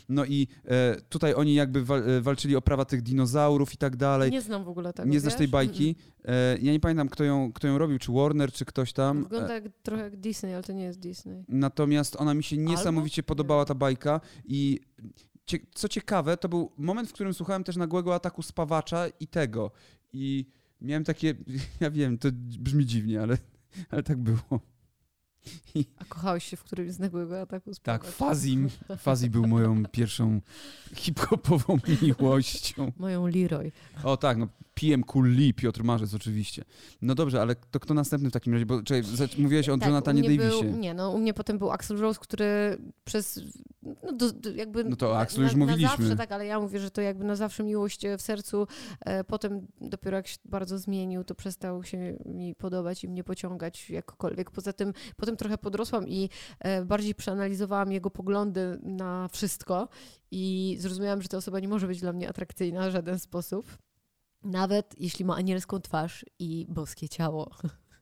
No i e, tutaj oni jakby wal, e, walczyli o prawa tych dinozaurów i tak dalej.
Nie znam w ogóle tego,
nie znasz
wiesz?
tej bajki. E, ja nie pamiętam, kto ją, kto ją robił, czy Warner, czy ktoś
Mm-mm.
tam. e,
Wygląda jak, trochę jak Disney, ale to nie jest Disney.
Natomiast ona mi się
Albo?
niesamowicie podobała, ta bajka. I cie, co ciekawe, to był moment, w którym słuchałem też nagłego ataku spawacza i tego. I miałem takie, ja wiem, to brzmi dziwnie, ale, ale tak było.
A kochałeś się w którymś z nagłego ataku
Tak,
spływaczy?
Fazim. Fazi był moją pierwszą hip-hopową miłością.
Moją Leroy.
O tak, no PM Kuli, Piotr Marzec oczywiście. No dobrze, ale to kto następny w takim razie? Bo czekaj, zac- mówiłeś o
Tak,
Jonathanie
u mnie był-
Davisie.
Nie, no u mnie potem był Axel Rose, który przez, no do, do, jakby...
No to o
na-
Axlu
na-
już mówiliśmy.
Na zawsze, tak, ale ja mówię, że to jakby na zawsze miłość w sercu. E, potem dopiero jak się bardzo zmienił, to przestał się mi podobać i mnie pociągać jakkolwiek. Poza tym potem trochę podrosłam i e, bardziej przeanalizowałam jego poglądy na wszystko i zrozumiałam, że ta osoba nie może być dla mnie atrakcyjna w żaden sposób. Nawet jeśli ma anielską twarz i boskie ciało.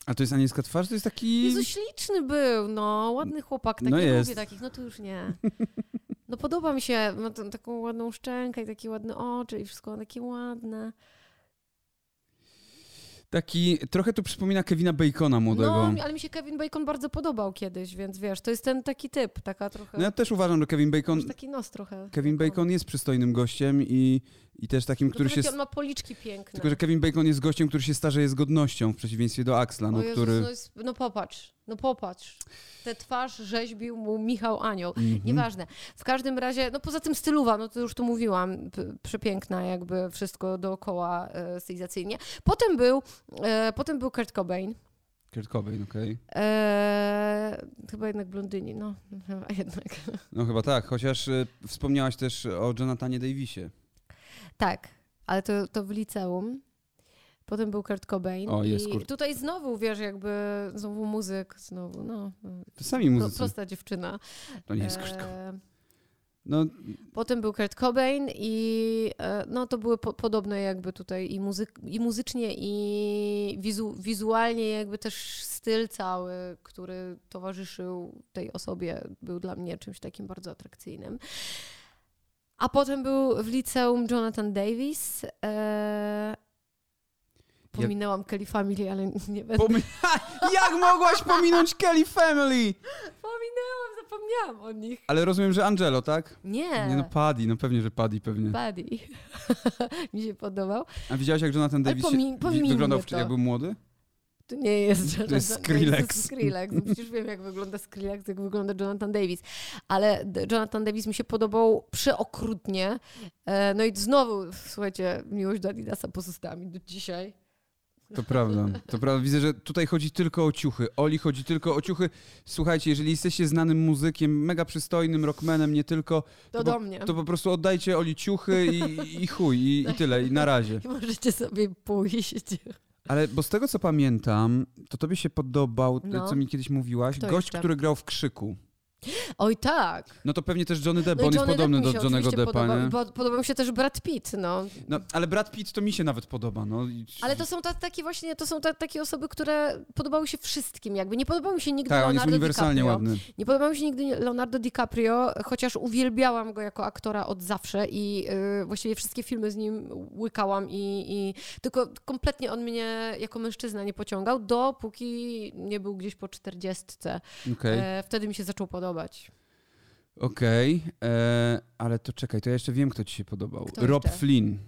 A to jest anielska twarz? To jest taki...
Jezu, śliczny był, no, ładny chłopak, tak
No
ja
jest.
lubię takich, no to już nie. No podoba mi się, ma t- taką ładną szczękę i takie ładne oczy i wszystko takie ładne.
Taki, trochę tu przypomina Kevina Bacona młodego.
No, mi- ale mi się Kevin Bacon bardzo podobał kiedyś, więc wiesz, to jest ten taki typ, taka trochę,
No ja też uważam, że Kevin Bacon,
masz taki nos trochę.
Kevin Bacon jest przystojnym gościem i, i też takim,
który
który się...
on ma policzki piękne.
Tylko, że Kevin Bacon jest gościem, który się starzeje z godnością, w przeciwieństwie do Axla, no,
o Jezus,
który...
no, jest, no popatrz, no popatrz. Tę twarz rzeźbił mu Michał Anioł.
Mhm.
Nieważne. W każdym razie, no poza tym stylowa, no to już tu mówiłam, p- przepiękna jakby wszystko dookoła e, stylizacyjnie. Potem był, e, potem był Kurt Cobain,
Kurt Cobain, no okej.
Eee, chyba jednak blondyni, no, chyba jednak.
No chyba tak, chociaż y, wspomniałaś też o Jonathanie Davisie.
Tak, ale to, to w liceum. Potem był Kurt Cobain.
O, jest
I
Kurt.
tutaj znowu, wiesz, jakby znowu muzyk, znowu, no,
To sami
no
muzycy.
prosta dziewczyna.
To nie jest Kurt Cobain.
Eee,
No,
Potem był Kurt Cobain i e, no to były po, podobne jakby tutaj i, muzyk, i muzycznie i wizu, wizualnie jakby też styl cały, który towarzyszył tej osobie był dla mnie czymś takim bardzo atrakcyjnym. A potem był w liceum Jonathan Davis. E, pominęłam Kelly Family, ale nie będę.
pomi- jak mogłaś pominąć Kelly Family?
Pominęłam, zapomniałam o nich.
Ale rozumiem, że Angelo, tak?
Nie.
Nie no, Paddy, no pewnie, że Paddy pewnie.
Buddy. Mi się podobał.
A widziałaś, jak Jonathan
Ale
Davis się
pomi-
wi-
pomińmy
wyglądał, w,
to.
jak był młody?
To nie jest Jonathan
jest
Davis,
Skrillex.
To jest Skrillex. No Przecież wiem, jak wygląda Skrillex, jak wygląda Jonathan Davis. Ale D- Jonathan Davis mi się podobał przeokrutnie. E, No i znowu, słuchajcie, miłość do Adidasa pozostała mi do dzisiaj.
To prawda, to prawda. Widzę, że tutaj chodzi tylko o ciuchy. Oli chodzi tylko o ciuchy. Słuchajcie, jeżeli jesteście znanym muzykiem, mega przystojnym rockmanem, nie tylko,
To
To
do mnie.
to po prostu oddajcie Oli ciuchy i, i chuj, i, i tyle, i na razie.
I możecie sobie pójść.
Ale bo z tego, co pamiętam, to tobie się podobał,
No.
co mi kiedyś mówiłaś,
Kto
gość,
jeszcze?
który grał w Krzyku.
Oj tak.
No to pewnie też Johnny Depp, bo
No i
on jest
Johnny
podobny
Depp mi
do
się
Johnny'ego
oczywiście
Deppa,
podobał.
nie?
Bo- Podobał mi się też Brad Pitt, no.
No, ale Brad Pitt to mi się nawet podoba, no. I-
Ale to są ta, takie właśnie, to są ta, takie osoby, które podobały się wszystkim jakby. Nie podobał mi się nigdy
Tak, on jest
Leonardo
uniwersalnie
DiCaprio.
ładny.
Nie podobał mi się nigdy Leonardo DiCaprio, chociaż uwielbiałam go jako aktora od zawsze i y, właściwie wszystkie filmy z nim łykałam i, i tylko kompletnie on mnie jako mężczyzna nie pociągał, dopóki nie był gdzieś po czterdziestce.
Okej,
E, wtedy mi się zaczął podobać.
okej. e, Ale to czekaj, to ja jeszcze wiem, kto ci się podobał.
Kto
Rob
jeszcze?
Flynn.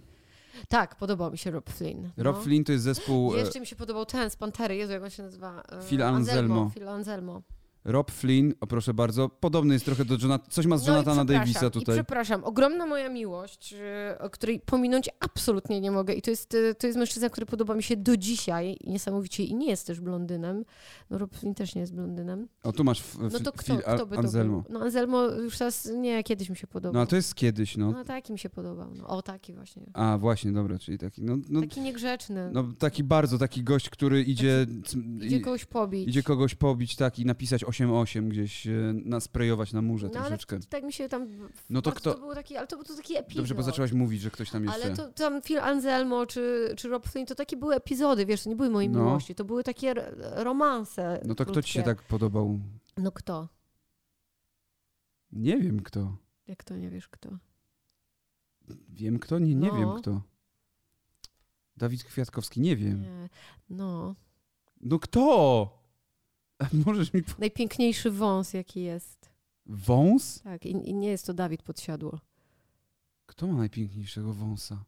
Tak, podobał mi się Rob Flynn.
Rob
no.
Flynn to jest zespół... e,
Jeszcze mi się podobał ten z Pantery, Jezu, jak on się nazywa? E,
Phil Anselmo.
Phil Anselmo.
Rob Flynn, o proszę bardzo, podobny jest trochę do Jonathan... Coś ma z
No i
Jonathana
przepraszam,
Davisa
I
tutaj.
przepraszam, ogromna moja miłość, yy, o której pominąć absolutnie nie mogę. I to jest, yy, to jest mężczyzna, który podoba mi się do dzisiaj niesamowicie i nie jest też blondynem. No Rob Flynn też nie jest blondynem.
O, tu masz f-
No to
f-
kto,
Phil
kto by to
Anselmo.
był? No Anselmo już teraz, nie, kiedyś mi się
No
podobał.
a to jest kiedyś, no.
No taki mi się podobał. No, o, taki właśnie.
A, właśnie, dobra, czyli taki... No, no,
Taki niegrzeczny.
no taki bardzo, taki gość, który idzie... cm-
Idzie
i-
kogoś pobić.
Idzie kogoś pobić tak i napisać 8-8 gdzieś, e, nasprejować na murze
no ale
troszeczkę.
tak mi się tam...
No to
bardzo
kto-
To było taki, ale to był to taki epizod. no.
Dobrze, bo zaczęłaś mówić, że ktoś tam jeszcze.
Ale to tam Phil Anselmo czy, czy Rob Flynn, to takie były epizody, wiesz, to nie były moje
No.
miłości, to były takie r- romanse.
No to kto ci się
krótkie.
tak podobał?
No kto?
Nie wiem kto.
Jak to nie wiesz kto?
Wiem kto? Nie, nie
No.
wiem kto. Dawid Kwiatkowski, nie wiem.
Nie. No.
No kto? Możesz mi... po-
Najpiękniejszy wąs, jaki jest.
Wąs?
Tak, i, i nie jest to Dawid Podsiadło.
Kto ma najpiękniejszego wąsa?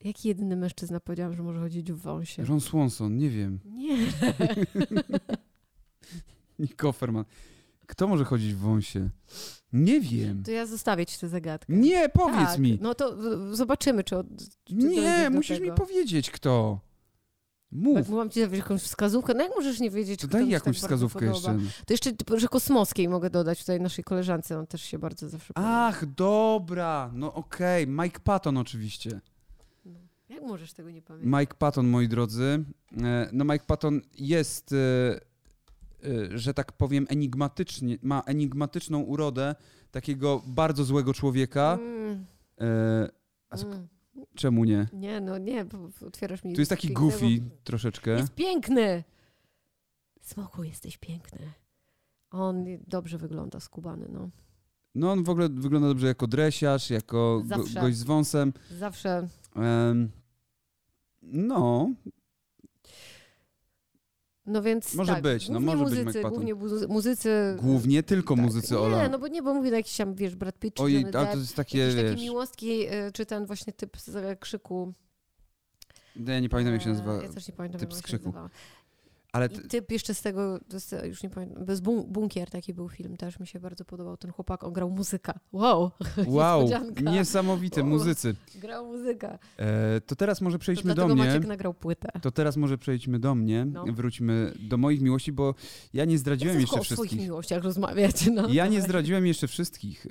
Jaki jedyny mężczyzna powiedział, że może chodzić w wąsie?
Ron Swanson, nie wiem.
Nie.
Nick Offerman. Kto może chodzić w wąsie? Nie wiem.
To ja zostawię ci tę zagadkę.
Nie, powiedz
tak,
mi.
No to w- zobaczymy, czy... Od... dojdziesz
Nie,
do
musisz mi
tego?
powiedzieć kto. Mów.
tak, Mam ci dać jakąś wskazówkę? No jak możesz nie wiedzieć,
To
kto mi
daj
się
jakąś
tak bardzo
wskazówkę
podoba?
jeszcze.
To jeszcze, t- że Kosmowskiej mogę dodać tutaj naszej koleżance, on też się bardzo zawsze podoba.
Ach, dobra, no okej, Mike Patton oczywiście.
No. Jak możesz tego nie pamiętać?
Mike Patton, moi drodzy. E, No Mike Patton jest, e, e, że tak powiem, enigmatycznie, ma enigmatyczną urodę takiego bardzo złego człowieka.
Mm,
E, a sk-
mm.
Czemu nie?
Nie, no nie, bo- bo otwierasz mi...
Tu jest taki
pięknego-
goofy troszeczkę.
Jest piękny! Smoku, jesteś piękny. On dobrze wygląda, skubany, no.
No on w ogóle wygląda dobrze jako dresiarz, jako go,
Zawsze.
gość z wąsem.
Zawsze...
Em, No,
No więc
Może
tak,
być, no,
głównie
może być
muzycy,
Mike Patton.
Głównie buzy- muzycy...
głównie tylko
tak.
muzycy Ola.
Nie, no bo nie, bo mówię na jakiś tam, wiesz, Brad Pitt czy
Oj,
Johnny
ale to
Depp.
jest takie,
Jakieś takie
wiesz,
miłostki, y, czy ten właśnie typ z e, krzyku.
no ja nie pamiętam jak się
e,
nazywa.
Ja też nie pamiętam,
typ z
jak on się
krzyku.
nazywa.
Ale
I
t-
typ jeszcze z tego, z, już nie pamiętam, bez bun- bunkier taki był film, też mi się bardzo podobał. Ten chłopak, on grał muzyka. Wow,
wow,
niespodzianka.
niesamowite,
Wow.
muzycy.
grał muzyka.
E, to teraz może
To
przejdźmy do
dlatego
mnie.
Maciek nagrał płytę.
To teraz może przejdźmy do mnie.
No.
Wróćmy do moich miłości, bo ja nie
Ja
zdradziłem
chcę tylko
jeszcze
o swoich
wszystkich.
miłościach rozmawiać. No.
Ja nie zdradziłem jeszcze wszystkich. E,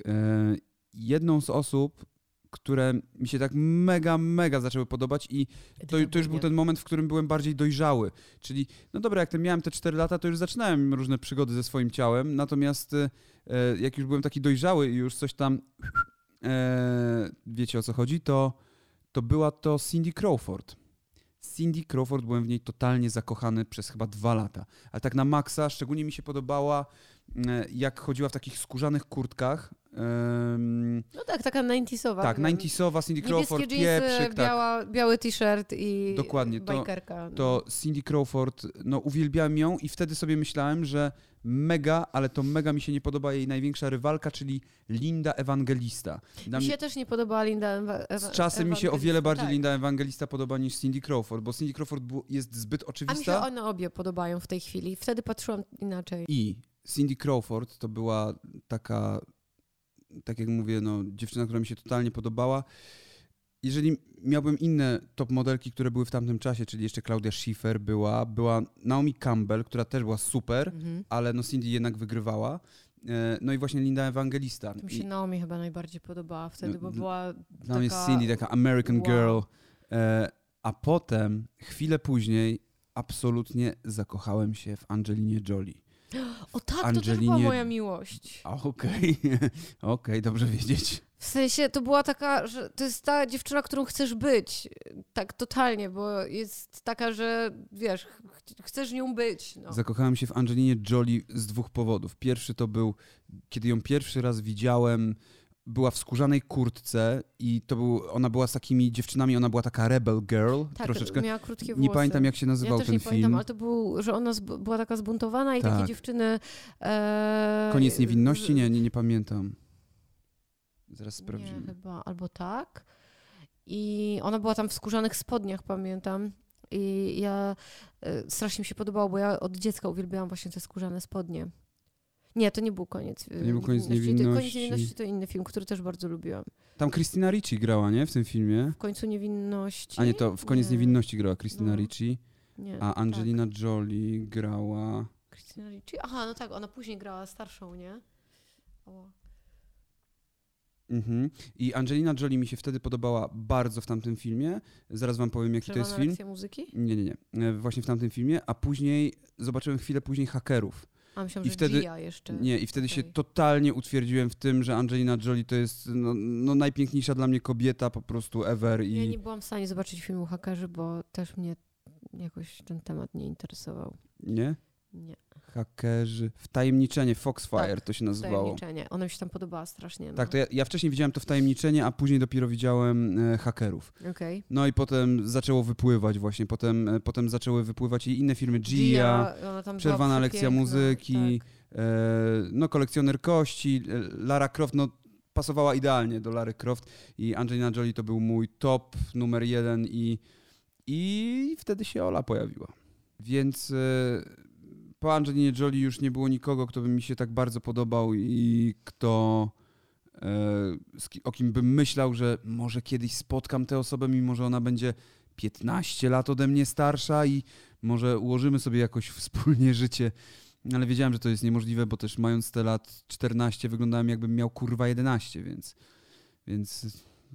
Jedną z osób, które mi się tak mega, mega zaczęły podobać i to,
tak
to już był ten moment, w którym byłem bardziej dojrzały. Czyli, no dobra, jak te miałem te 4 lata, to już zaczynałem różne przygody ze swoim ciałem, natomiast e, e, jak już byłem taki dojrzały i już coś tam, e, wiecie o co chodzi, to, to była to Cindy Crawford. Cindy Crawford, byłem w niej totalnie zakochany przez chyba dwa lata. Ale tak na maksa, szczególnie mi się podobała, e, jak chodziła w takich skórzanych kurtkach. Em,
No tak, taka 90sowa.
tak, 90sowa, Cindy Crawford,
Niebieskie jeansy,
pieprzyk, tak.
biała, biały t-shirt i
Dokładnie, to-
bajkerka. no.
to Cindy Crawford, no uwielbiałem ją i wtedy sobie myślałem, że mega, ale to mega mi się nie podoba jej największa rywalka, czyli Linda Ewangelista. Dla
Mi
mnie-
się też nie podobała Linda Ewa, Ewa,
z czasem mi się o wiele
Ewangelista,
bardziej
tak.
Linda Ewangelista podoba niż Cindy Crawford, bo Cindy Crawford bu- jest zbyt
A mi się
oczywista
one obie podobają w tej chwili. Wtedy patrzyłam inaczej.
i Cindy Crawford to była taka, tak jak mówię, no, dziewczyna, która mi się totalnie podobała. Jeżeli miałbym inne top modelki, które były w tamtym czasie, czyli jeszcze Claudia Schiffer była, była Naomi Campbell, która też była super,
Mhm.
ale no Cindy jednak wygrywała. E, No i właśnie Linda Ewangelista.
Mi
I
się Naomi chyba najbardziej podobała wtedy,
No,
bo
d-
była
tam jest
taka-
Cindy, taka American
wow.
Girl. E, A potem, chwilę później, absolutnie zakochałem się w Angelinie Jolie.
O tak, to też była
Angelinie-
moja miłość.
A, Okej, okej, dobrze wiedzieć.
W sensie to była taka, że to jest ta dziewczyna, którą chcesz być. Tak totalnie, bo jest taka, że wiesz, ch- chcesz nią być. No.
Zakochałem się w Angelinie Jolie z dwóch powodów. Pierwszy to był, kiedy ją pierwszy raz widziałem, była w skórzanej kurtce i to był, ona była z takimi dziewczynami, ona była taka rebel girl
Tak,
troszeczkę.
miała krótkie włosy.
Nie pamiętam, jak się
ja
nazywał
też
ten
nie
film.
pamiętam, ale to był, że ona zb- była taka zbuntowana i takie
Tak.
dziewczyny... E...
Koniec niewinności?
z-
Nie, nie, nie pamiętam. Zaraz
Nie,
sprawdzimy.
chyba, albo tak. I ona była tam w skórzanych spodniach, pamiętam. I ja e, strasznie mi się podobało, bo ja od dziecka uwielbiałam właśnie te skórzane spodnie. Nie, to nie był koniec. To
nie był koniec
Koniec
niewinności.
niewinności to inny film, który też bardzo lubiłam.
Tam Christina Ricci grała, nie? W tym filmie.
W końcu niewinności.
A nie, to w koniec
Nie.
niewinności grała Christina
No. Tak.
Ricci,
Nie,
a Angelina Jolie grała...
Tak. Christina Ricci. Aha, no tak, ona później grała starszą, nie? O.
Mhm. I Angelina Jolie mi się wtedy podobała bardzo w tamtym filmie. Zaraz wam powiem, jaki to jest
Przerwana
film.
lekcja muzyki?
Nie, nie, nie. E, Właśnie w tamtym filmie, a później zobaczyłem chwilę później hakerów.
A myślałam,
I
że
wtedy-
Gia jeszcze.
Nie, i wtedy się
Okej.
totalnie utwierdziłem w tym, że Angelina Jolie to jest no, no, najpiękniejsza dla mnie kobieta po prostu ever i
Ja nie byłam w stanie zobaczyć filmu Hakerzy, bo też mnie jakoś ten temat nie interesował.
nie?
Nie,
Hakerzy, wtajemniczenie, Foxfire
Tak,
to się nazywało.
tajemniczenie. Ona mi się tam podobała strasznie. No.
Tak, to ja, ja wcześniej widziałem to wtajemniczenie, a później dopiero widziałem e, hakerów.
Okej.
No i potem zaczęło wypływać właśnie, potem, e, potem zaczęły wypływać i inne filmy, Gia,
ona tam była
Przerwana
przepiękna,
lekcja muzyki.
Tak.
e, no kolekcjoner kości, e, Lara Croft, no pasowała idealnie do Lary Croft i Angelina Jolie to był mój top numer jeden i, i wtedy się Ola pojawiła. Więc e, po Angelinie Jolie już nie było nikogo, kto by mi się tak bardzo podobał i kto e, z ki- o kim bym myślał, że może kiedyś spotkam tę osobę, mimo że ona będzie 15 lat ode mnie starsza i może ułożymy sobie jakoś wspólnie życie. Ale wiedziałem, że to jest niemożliwe, bo też mając te lat 14 wyglądałem jakbym miał kurwa 11, więc, więc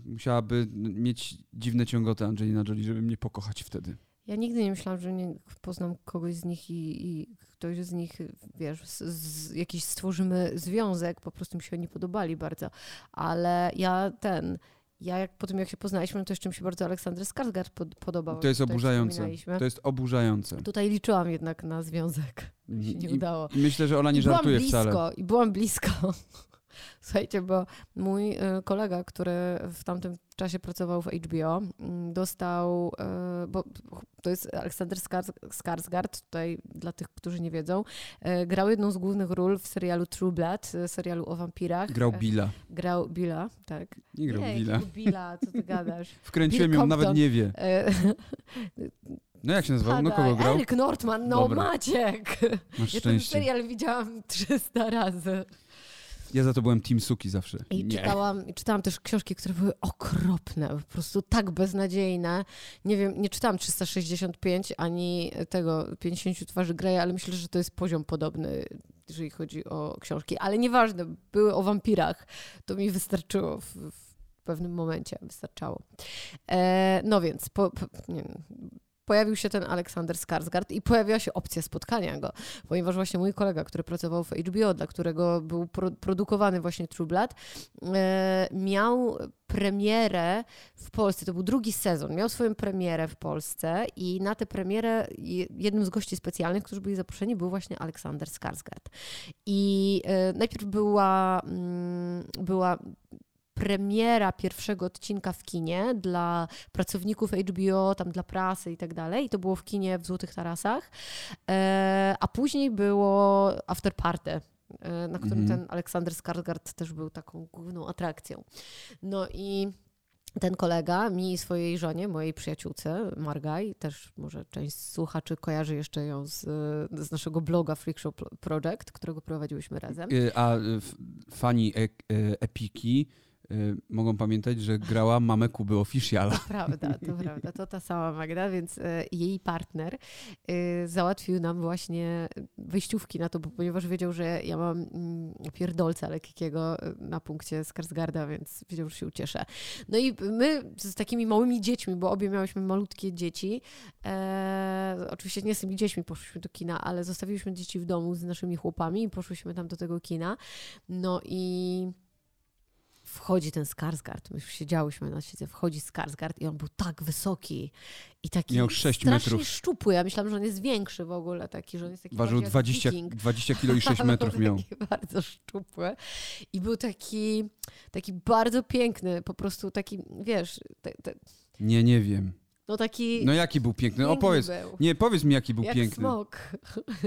musiałaby mieć dziwne ciągoty Angelina Jolie, żeby mnie pokochać wtedy.
Ja nigdy nie myślałam, że nie poznam kogoś z nich i, i ktoś z nich, wiesz, z, z, jakiś stworzymy związek, po prostu mi się oni podobali bardzo. Ale ja ten, ja jak po tym jak się poznaliśmy, to jeszcze mi się bardzo Aleksander Skarsgård pod, podobał.
To jest
Tutaj
oburzające.
wspominaliśmy.
To jest oburzające.
Tutaj liczyłam jednak na związek. Mi się nie
I,
udało.
I myślę, że Ola nie
I byłam
żartuje
blisko,
wcale.
I byłam blisko. Słuchajcie, bo mój y, kolega, który w tamtym czasie pracował w HBO, mm, dostał, y, bo to jest Aleksander Skars- Skarsgård, tutaj dla tych, którzy nie wiedzą, y, grał jedną z głównych ról w serialu True Blood, y, serialu o wampirach.
Grał
Y,
Billa.
Grał Billa, tak.
Nie grał
Jej,
Billa.
Billa, co ty gadasz.
Wkręciłem
Bill
ją, nawet
Compton.
nie wie.
E,
No jak się nazywał? No
Padaj.
kogo grał?
Eryk Nordman, no
Dobra.
Maciek!
Masz
Ja ten
szczęście.
serial widziałam 300 razy.
Ja za to byłem Team Suki zawsze.
I
Nie.
czytałam, i czytałam też książki, które były okropne, po prostu tak beznadziejne. Nie wiem, nie czytałam 365 ani tego 50 twarzy Greya, ale myślę, że to jest poziom podobny, jeżeli chodzi o książki. Ale nieważne, były o wampirach. To mi wystarczyło w, w pewnym momencie, wystarczało. E, no więc, po, po, nie wiem. Pojawił się ten Aleksander Skarsgard i pojawiła się opcja spotkania go, ponieważ właśnie mój kolega, który pracował w HBO, dla którego był pro, produkowany właśnie True Blood, e, miał premierę w Polsce. To był drugi sezon. Miał swoją premierę w Polsce i na tę premierę je- jednym z gości specjalnych, którzy byli zaproszeni, był właśnie Aleksander Skarsgard. I e, najpierw była, mm, była premiera pierwszego odcinka w kinie dla pracowników HBO, tam dla prasy i tak dalej. I to było w kinie w Złotych Tarasach. E, a później było After Party, e, na którym
Mhm.
ten Aleksander Skarsgård też był taką główną atrakcją. No i ten kolega mi i swojej żonie, mojej przyjaciółce, Margaj, też może część słuchaczy kojarzy jeszcze ją z, e, z naszego bloga Freak Show Pro- Project, którego prowadziłyśmy razem.
Y, A y, f- fani e- e- Epiki y, mogą pamiętać, że grała mamę Kuby Officiala.
prawda, to prawda. To ta sama Magda, więc e, jej partner e, załatwił nam właśnie wyjściówki na to, bo ponieważ wiedział, że ja mam mm, pierdolca lekkiego e, na punkcie Skarsgarda, więc wiedział, że się ucieszę. No i my z takimi małymi dziećmi, bo obie miałyśmy malutkie dzieci, e, oczywiście nie z tymi dziećmi poszłyśmy do kina, ale zostawiliśmy dzieci w domu z naszymi chłopami i poszłyśmy tam do tego kina. No i wchodzi ten Skarsgard. My już siedziałyśmy na siedzę, wchodzi Skarsgard i on był tak wysoki i taki
Miał sześć
strasznie
metrów.
szczupły. Ja myślałam, że on jest większy w ogóle taki, że on jest taki
Ważył
bardziej jak
20,
wiking.
20 kilo i 6 metrów
Był
miał.
taki Bardzo szczupły. I był taki, taki bardzo piękny, po prostu taki, wiesz, te, te,
Nie, nie wiem.
no taki
No jaki był piękny?
piękny
Opowiedz.
był.
Nie, powiedz mi jaki był
Jak
piękny.
smok.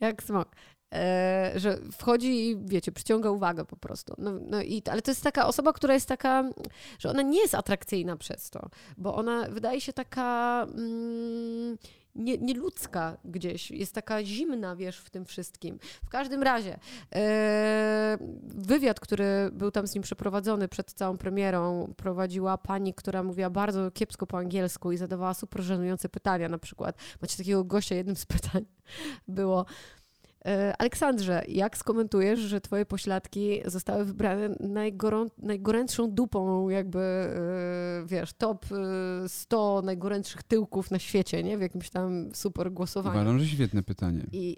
Jak smok. E, że wchodzi i wiecie, przyciąga uwagę po prostu. No, no i, ale to jest taka osoba, która jest taka, że ona nie jest atrakcyjna przez to, bo ona wydaje się taka mm, nie, nieludzka gdzieś, jest taka zimna, wiesz, w tym wszystkim. W każdym razie, e, wywiad, który był tam z nim przeprowadzony przed całą premierą, prowadziła pani, która mówiła bardzo kiepsko po angielsku i zadawała super żenujące pytania. Na przykład, macie takiego gościa, jednym z pytań było. e, Aleksandrze, jak skomentujesz, że twoje pośladki zostały wybrane najgorą, najgorętszą dupą, jakby, e, wiesz, top e, 100 najgorętszych tyłków na świecie, nie? W jakimś tam super głosowaniu.
Uważam, że świetne pytanie.
I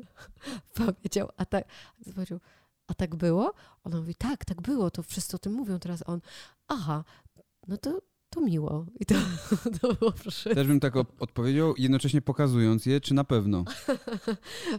powiedział, a tak, zobaczył, a tak było? Ona mówi, tak, tak było, to wszyscy o tym mówią teraz. A on, aha, no to, to miło. I to, to było proszę.
Też bym tak op- odpowiedział, jednocześnie pokazując je, czy na pewno.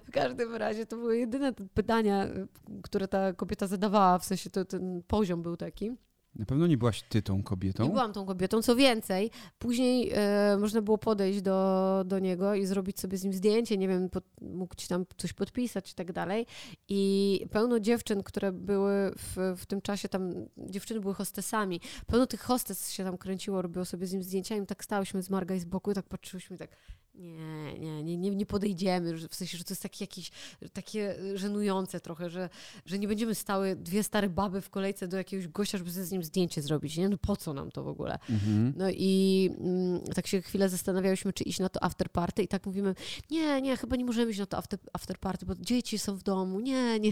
W każdym razie to były jedyne te pytania, y, które ta kobieta zadawała, w sensie to, ten poziom był taki.
Na pewno nie byłaś ty tą
Nie
kobietą.
byłam tą kobietą, co więcej, później e, można było podejść do, do niego i zrobić sobie z nim zdjęcie, nie wiem, pod, mógł ci tam coś podpisać i tak dalej. I pełno dziewczyn, które były w, w tym czasie tam, dziewczyny były hostesami, pełno tych hostes się tam kręciło, robiło sobie z nim zdjęcia i my tak stałyśmy z Marga i z boku i tak patrzyłyśmy i tak nie, nie, nie, nie, nie podejdziemy, że- w sensie, że to jest takie jakieś, takie e, żenujące trochę, że, że nie będziemy stały dwie stare baby w kolejce do jakiegoś gościa, żeby sobie z nim zdjęcie zrobić, nie? No po co nam to w ogóle?
Mhm.
No i mm, tak się chwilę zastanawiałyśmy, czy iść na to after party i tak mówimy, nie, nie, chyba nie możemy iść na to after, after party, bo dzieci są w domu, nie, nie.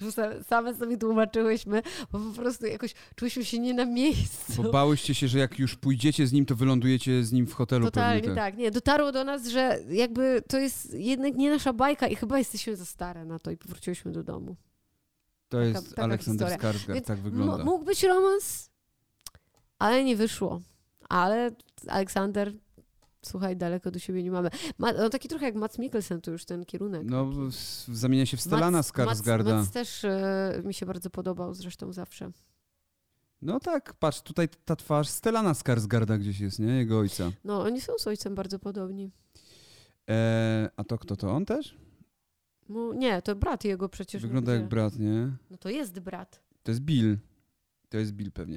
Że sa- Same sobie tłumaczyłyśmy, bo po prostu jakoś czuliśmy się nie na miejscu.
Bo bałyście się, że jak już pójdziecie z nim, to wylądujecie z nim w hotelu
Totalnie
No pewnie.
tak. Nie, dotarło do nas, że jakby to jest jednak nie nasza bajka i chyba jesteśmy za stare na to i powróciłyśmy do domu.
To jest
taka
Aleksander
historia.
Skarsgård,
Więc
tak
M-
wygląda.
mógł być romans, ale nie wyszło. Ale Aleksander, słuchaj, daleko do siebie nie mamy. Ma, no taki trochę jak Mats Mikkelsen, to już ten kierunek.
No,
taki.
s- zamienia się w Stelana
Mats- Mats,
Skarsgarda.
Mats też e, mi się bardzo podobał zresztą zawsze.
No tak, patrz, tutaj ta twarz Stelana Skarsgarda gdzieś jest, nie? Jego ojca.
No, oni są z ojcem bardzo podobni.
E, a to kto to? On też?
Mu, nie, to brat jego przecież.
Wygląda
no
jak
gdzie?
brat, nie?
No to jest brat.
To jest Bill. To jest Bill pewnie.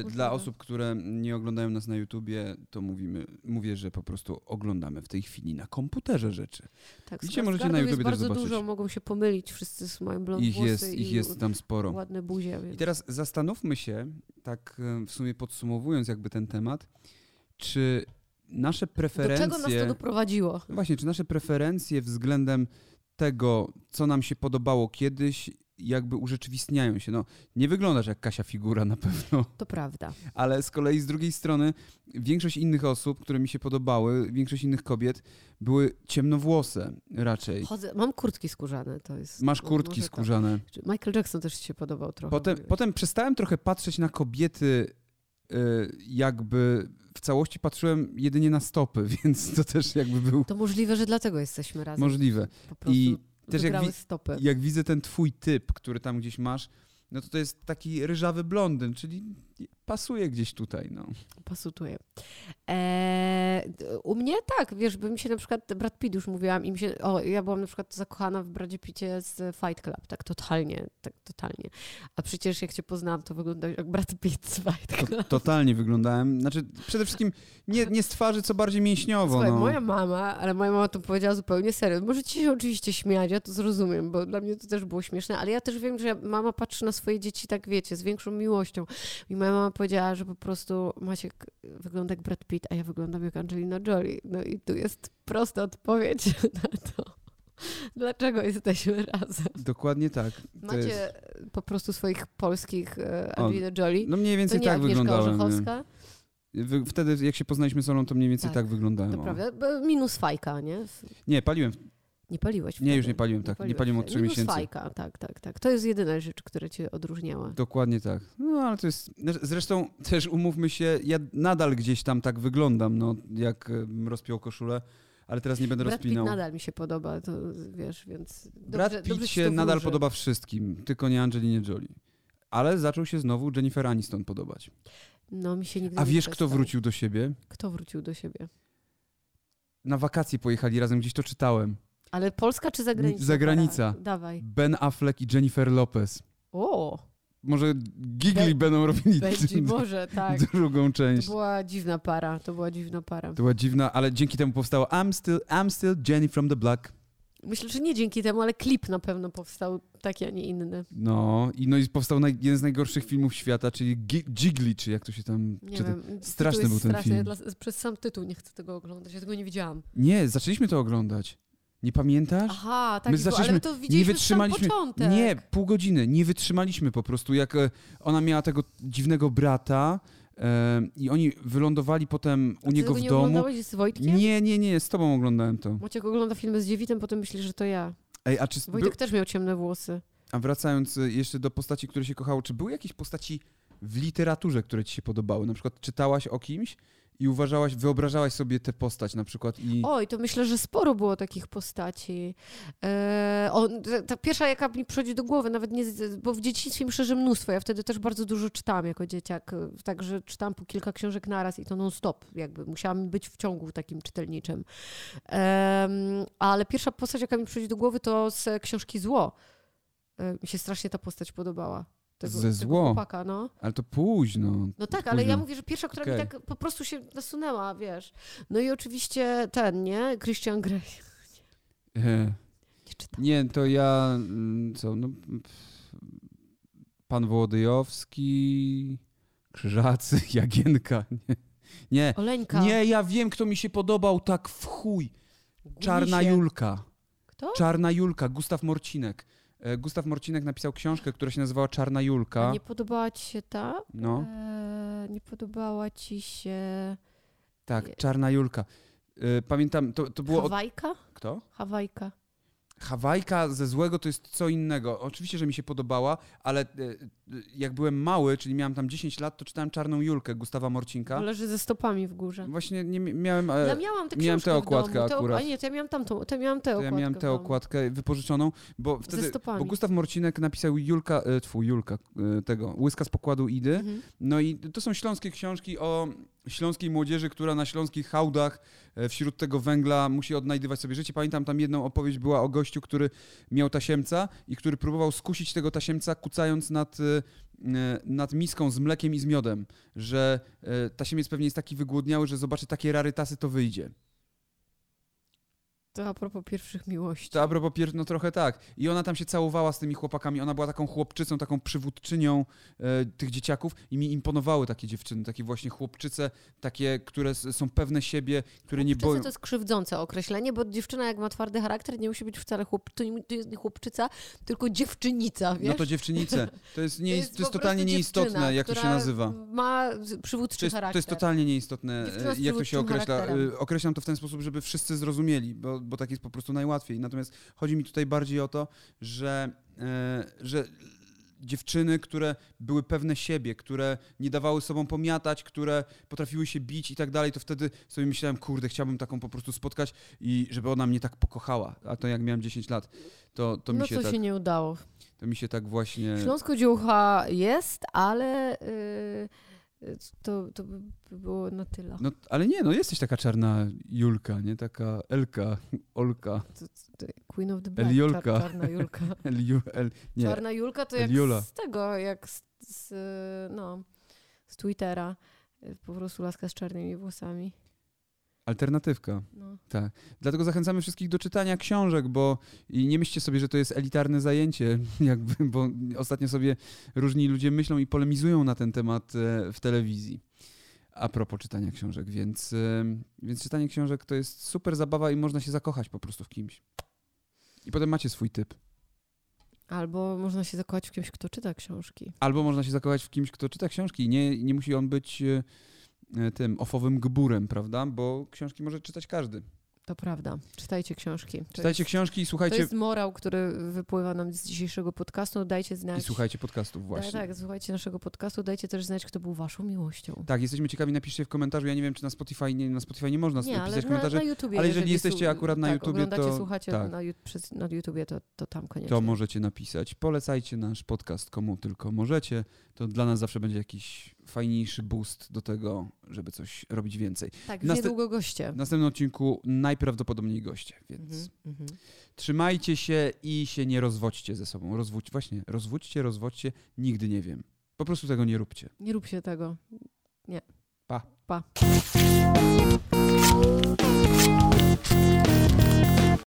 Y,
tak.
Dla osób, które nie oglądają nas na YouTubie, to mówimy, mówię, że po prostu oglądamy w tej chwili na komputerze rzeczy.
Tak,
Widzicie,
Skarsgårdów
możecie na
jest
YouTubie też
bardzo dużo,
zobaczyć.
mogą się pomylić wszyscy z moim blond
Ich
No, włosy
jest,
i
ich jest tam sporo.
ładne buzie. Więc...
I teraz zastanówmy się, tak e, w sumie podsumowując jakby ten temat, czy nasze
Do
preferencje...
czego nas to doprowadziło?
No Właśnie, czy nasze preferencje względem tego, co nam się podobało kiedyś, jakby urzeczywistniają się? No, nie wyglądasz jak Kasia Figura na pewno,
To prawda.
ale z kolei z drugiej strony większość innych osób, które mi się podobały, większość innych kobiet, były ciemnowłose raczej.
Chodzę, mam kurtki skórzane, to jest...
Masz
mo-
kurtki
może tak.
skórzane.
Czy Michael Jackson też ci się podobał trochę.
Potem,
mówiłeś.
potem przestałem trochę patrzeć na kobiety, y, jakby w całości patrzyłem jedynie na stopy, więc to też jakby był
To możliwe, że dlatego jesteśmy razem.
możliwe.
Po prostu
I też
też
jak
wygrały
wi-
stopy.
jak widzę ten twój typ, który tam gdzieś masz, no to to jest taki ryżawy blondyn, czyli pasuje gdzieś tutaj, no.
Pasutuję. Eee, d- u mnie tak, wiesz, by mi się na przykład Brad Pitt już mówiłam i mi się, o, ja byłam na przykład zakochana w Bradzie Picie z Fight Club, tak totalnie, tak totalnie. A przecież jak cię poznałam, to wyglądałeś jak Brad Pitt z Fight Club.
Totalnie wyglądałem, znaczy przede wszystkim nie, nie z twarzy, co bardziej mięśniowo,
Słuchaj,
no.
moja mama, ale moja mama to powiedziała zupełnie serio. Możecie się oczywiście śmiać, ja to zrozumiem, bo dla mnie to też było śmieszne, ale ja też wiem, że mama patrzy na swoje dzieci, tak wiecie, z większą miłością. I moja mama powiedziała, że po prostu Maciek wygląda jak Brad Pitt, a ja wyglądam jak Angelina Jolie. No i tu jest prosta odpowiedź na to. Dlaczego jesteśmy razem?
Dokładnie tak. To
Macie
jest-
po prostu swoich polskich e,
O,
Angelina Jolie.
No mniej
to
więcej
nie
tak
Agnieszka
wyglądałem.
Orzechowska,
nie. Wy, wtedy, jak się poznaliśmy z Olą, to mniej więcej
Tak,
tak, wyglądałem.
to
o.
prawda. Bo Minus fajka, nie?
Nie, paliłem.
Nie paliłeś
Nie,
wtedy.
już nie paliłem, tak. Nie
paliłeś
paliłem od
wtedy.
trzech
Minus
miesięcy.
Fajka, tak, tak, tak. To jest jedyna rzecz, która cię odróżniała.
Dokładnie tak. No ale to jest. Zresztą też umówmy się, ja nadal gdzieś tam tak wyglądam, no jak e, bym rozpiął koszulę, ale teraz nie będę
Brad Pitt
rozpinał.
nadal mi się podoba, to wiesz, więc dobrze,
Brad
dobrze
Pitt
ci
się
to
nadal
wróży.
podoba wszystkim, tylko nie Angelinie Jolie. Ale zaczął się znowu Jennifer Aniston podobać.
No, mi się nigdy
A
nie
wiesz, kto
przestał.
wrócił do siebie?
Kto wrócił do siebie?
Na wakacje pojechali razem, gdzieś to czytałem.
Ale Polska czy zagranica?
zagranica.
Para. Dawaj.
Ben Affleck i Jennifer Lopez.
O,
Może gigli
Be-
będą robili
będzie Boże, tak.
drugą
To
część.
była dziwna para, to była dziwna para.
To była dziwna, ale dzięki temu powstało I'm still, I'm still Jenny from the Block.
Myślę, że nie dzięki temu, ale klip na pewno powstał taki, a nie inny.
No i, no i powstał naj, jeden z najgorszych filmów świata, czyli Gi- Gigli, czy jak to się tam
Nie
czyta.
wiem, tytuł
straszny
jest
był ten
straszny.
film.
Ja Dla, przez sam tytuł nie chcę tego oglądać, ja tego nie widziałam.
Nie, zaczęliśmy to oglądać. Nie pamiętasz?
Aha,
My
tak, My zaczęliśmy, ale
zaczęliśmy-
to widzieliśmy
nie
w sam
wytrzymaliśmy.
początek.
Nie, pół godziny. Nie wytrzymaliśmy po prostu, jak e, ona miała tego dziwnego brata e, i oni wylądowali potem u
Ty
niego
tego
w
nie
domu.
oglądałeś z Wojtkiem?
Nie, nie, nie, z tobą oglądałem to.
Maciek ogląda filmy z dziewitem, potem myśli, że to ja.
Ej, a czy był,
Wojtek też miał ciemne włosy.
A wracając y, jeszcze do postaci, które się kochało, czy były jakieś postaci w literaturze, które ci się podobały? Na przykład czytałaś o kimś i uważałaś, wyobrażałaś sobie tę postać na przykład i...
Oj, to myślę, że sporo było takich postaci. E, o, ta- ta pierwsza, jaka mi przychodzi do głowy, nawet nie, z- bo w dzieciństwie myślę, że mnóstwo. Ja wtedy też bardzo dużo czytałam jako dzieciak, e, także czytałam po kilka książek naraz i to non-stop, jakby musiałam być w ciągu takim czytelniczym. Em, ale pierwsza postać, jaka mi przychodzi do głowy, to z książki Zło. E, mi się strasznie ta postać podobała.
Ze
Tego
Zło?
chłopaka, no.
Ale to późno.
No tak, ale ja
Późno.
mówię, że pierwsza, która mi
Okej.
tak po prostu się nasunęła, wiesz. No i oczywiście ten, nie? Christian Grey.
E,
Nie czytam.
nie, to ja... mm, Co, no... pff, Pan Wołodyjowski, Krzyżacy, Jagienka, nie. Nie,
Oleńka.
nie, ja wiem, kto mi się podobał tak w chuj.
Guli
Czarna
się.
Julka.
Kto?
Czarna Julka, Gustaw Morcinek. E, Gustaw Morcinek napisał książkę, która się nazywała Czarna Julka.
A nie podobała ci się ta?
No,
Eee, nie podobała ci się
tak, Czarna Julka. E, Pamiętam, to, to było... Od...
Hawajka?
Kto?
Hawajka.
Hawajka ze złego to jest co innego. Oczywiście, że mi się podobała, ale e, e, jak byłem mały, czyli miałem tam 10 lat, to czytałem Czarną Julkę Gustawa Morcinka.
Bo Leży ze stopami w górze.
Właśnie nie mi- miałem... e,
Ja miałam tę
miałem
książkę
tę
w domu,
okładkę
to-
akurat.
A nie, to ja miałam tamtą, to ja miałam tę
to ja
okładkę.
miałem
w
tę
domu.
okładkę wypożyczoną, bo wtedy...
stopami.
Bo Gustaw Morcinek napisał Julka... E, twój Julka, e, tego, Łyska z pokładu Idy.
Mhm.
No i to są śląskie książki o śląskiej młodzieży, która na śląskich hałdach e, wśród tego węgla musi odnajdywać sobie życie. Pamiętam tam jedną opowieść była o gościu, który miał tasiemca i który próbował skusić tego tasiemca kucając nad, e, nad miską z mlekiem i z miodem, że e, tasiemiec pewnie jest taki wygłodniały, że zobaczy takie rarytasy, to wyjdzie.
To a propos pierwszych miłości.
To a propos pier... no trochę tak. I ona tam się całowała z tymi chłopakami. Ona była taką chłopczycą, taką przywódczynią e, tych dzieciaków i mi imponowały takie dziewczyny, takie właśnie chłopczyce, takie, które s- są pewne siebie, które nie boją.
Chłopczyca to jest krzywdzące określenie, bo dziewczyna jak ma twardy charakter, nie musi być wcale chłop... to, nie, to jest nie chłopczyca, tylko dziewczynica, wiesz?
No to dziewczynice. To jest, nie, to jest,
po
totalnie
prostu dziewczyna,
nieistotne, jak to się
która
nazywa.
Ma z- przywódczy
To jest,
charakter.
to jest totalnie nieistotne,
Dziewczyna z
e, jak to się
przywódczym
określa.
charakterem.
E, Określam to w ten sposób, żeby wszyscy zrozumieli, bo, bo tak jest po prostu najłatwiej. Natomiast chodzi mi tutaj bardziej o to, że, e, że dziewczyny, które były pewne siebie, które nie dawały sobą pomiatać, które potrafiły się bić i tak dalej, to wtedy sobie myślałem, kurde, chciałbym taką po prostu spotkać i żeby ona mnie tak pokochała. A to jak miałem 10 lat, to, to, mi,
no
się
co
tak,
się nie udało.
to mi się tak właśnie...
Śląsko dziucha jest, ale y, y, to, to by by było na tyle.
No, ale nie, no jesteś taka czarna Julka, nie? Taka Elka, Olka,
Queen of the Black,
Eliolka.
czar- czarna Julka.
Eliu, El, nie,
Czarna Julka to jak
Eliula.
z tego, jak z, z, y, no, z Twittera. Y, Po prostu laska z czarnymi włosami.
Alternatywka.
No.
Tak. Dlatego zachęcamy wszystkich do czytania książek, bo i nie myślcie sobie, że to jest elitarne zajęcie, jakby, bo ostatnio sobie różni ludzie myślą i polemizują na ten temat e, w telewizji. A propos czytania książek, więc, e, więc czytanie książek to jest super zabawa i można się zakochać po prostu w kimś. I potem macie swój typ.
Albo można się zakochać w kimś, kto czyta książki.
Albo można się zakochać w kimś, kto czyta książki. i Nie, nie musi on być e, e, tym ofowym gburem, prawda? Bo książki może czytać każdy.
To prawda. Czytajcie książki. To
Czytajcie książki i
jest, to
słuchajcie
jest morał, który wypływa nam z dzisiejszego podcastu. Dajcie znać.
I słuchajcie podcastów właśnie.
Tak, tak, słuchajcie naszego podcastu. Dajcie też znać, kto był waszą miłością.
Tak, jesteśmy ciekawi, napiszcie w komentarzu. Ja nie wiem, czy na Spotify nie, na Spotify nie można
Nie, ale
pisać
na,
komentarzy.
na YouTubie.
ale jeżeli jesteście
słu-
akurat na
tak,
YouTubie,
oglądacie,
to-
słuchacie
tak.
na, ju- przez, na YouTubie, to, to tam koniecznie.
To możecie napisać. Polecajcie nasz podcast komu tylko możecie. To dla nas zawsze będzie jakiś fajniejszy boost do tego, żeby coś robić więcej.
tak,
Następ-
niedługo goście.
W następnym odcinku najprawdopodobniej goście, więc
Mhm, mhm.
trzymajcie się i się nie rozwodźcie ze sobą. Rozwódź, właśnie, rozwódźcie, rozwodźcie, nigdy nie wiem. Po prostu tego nie róbcie.
Nie rób się tego.
Pa.
Pa.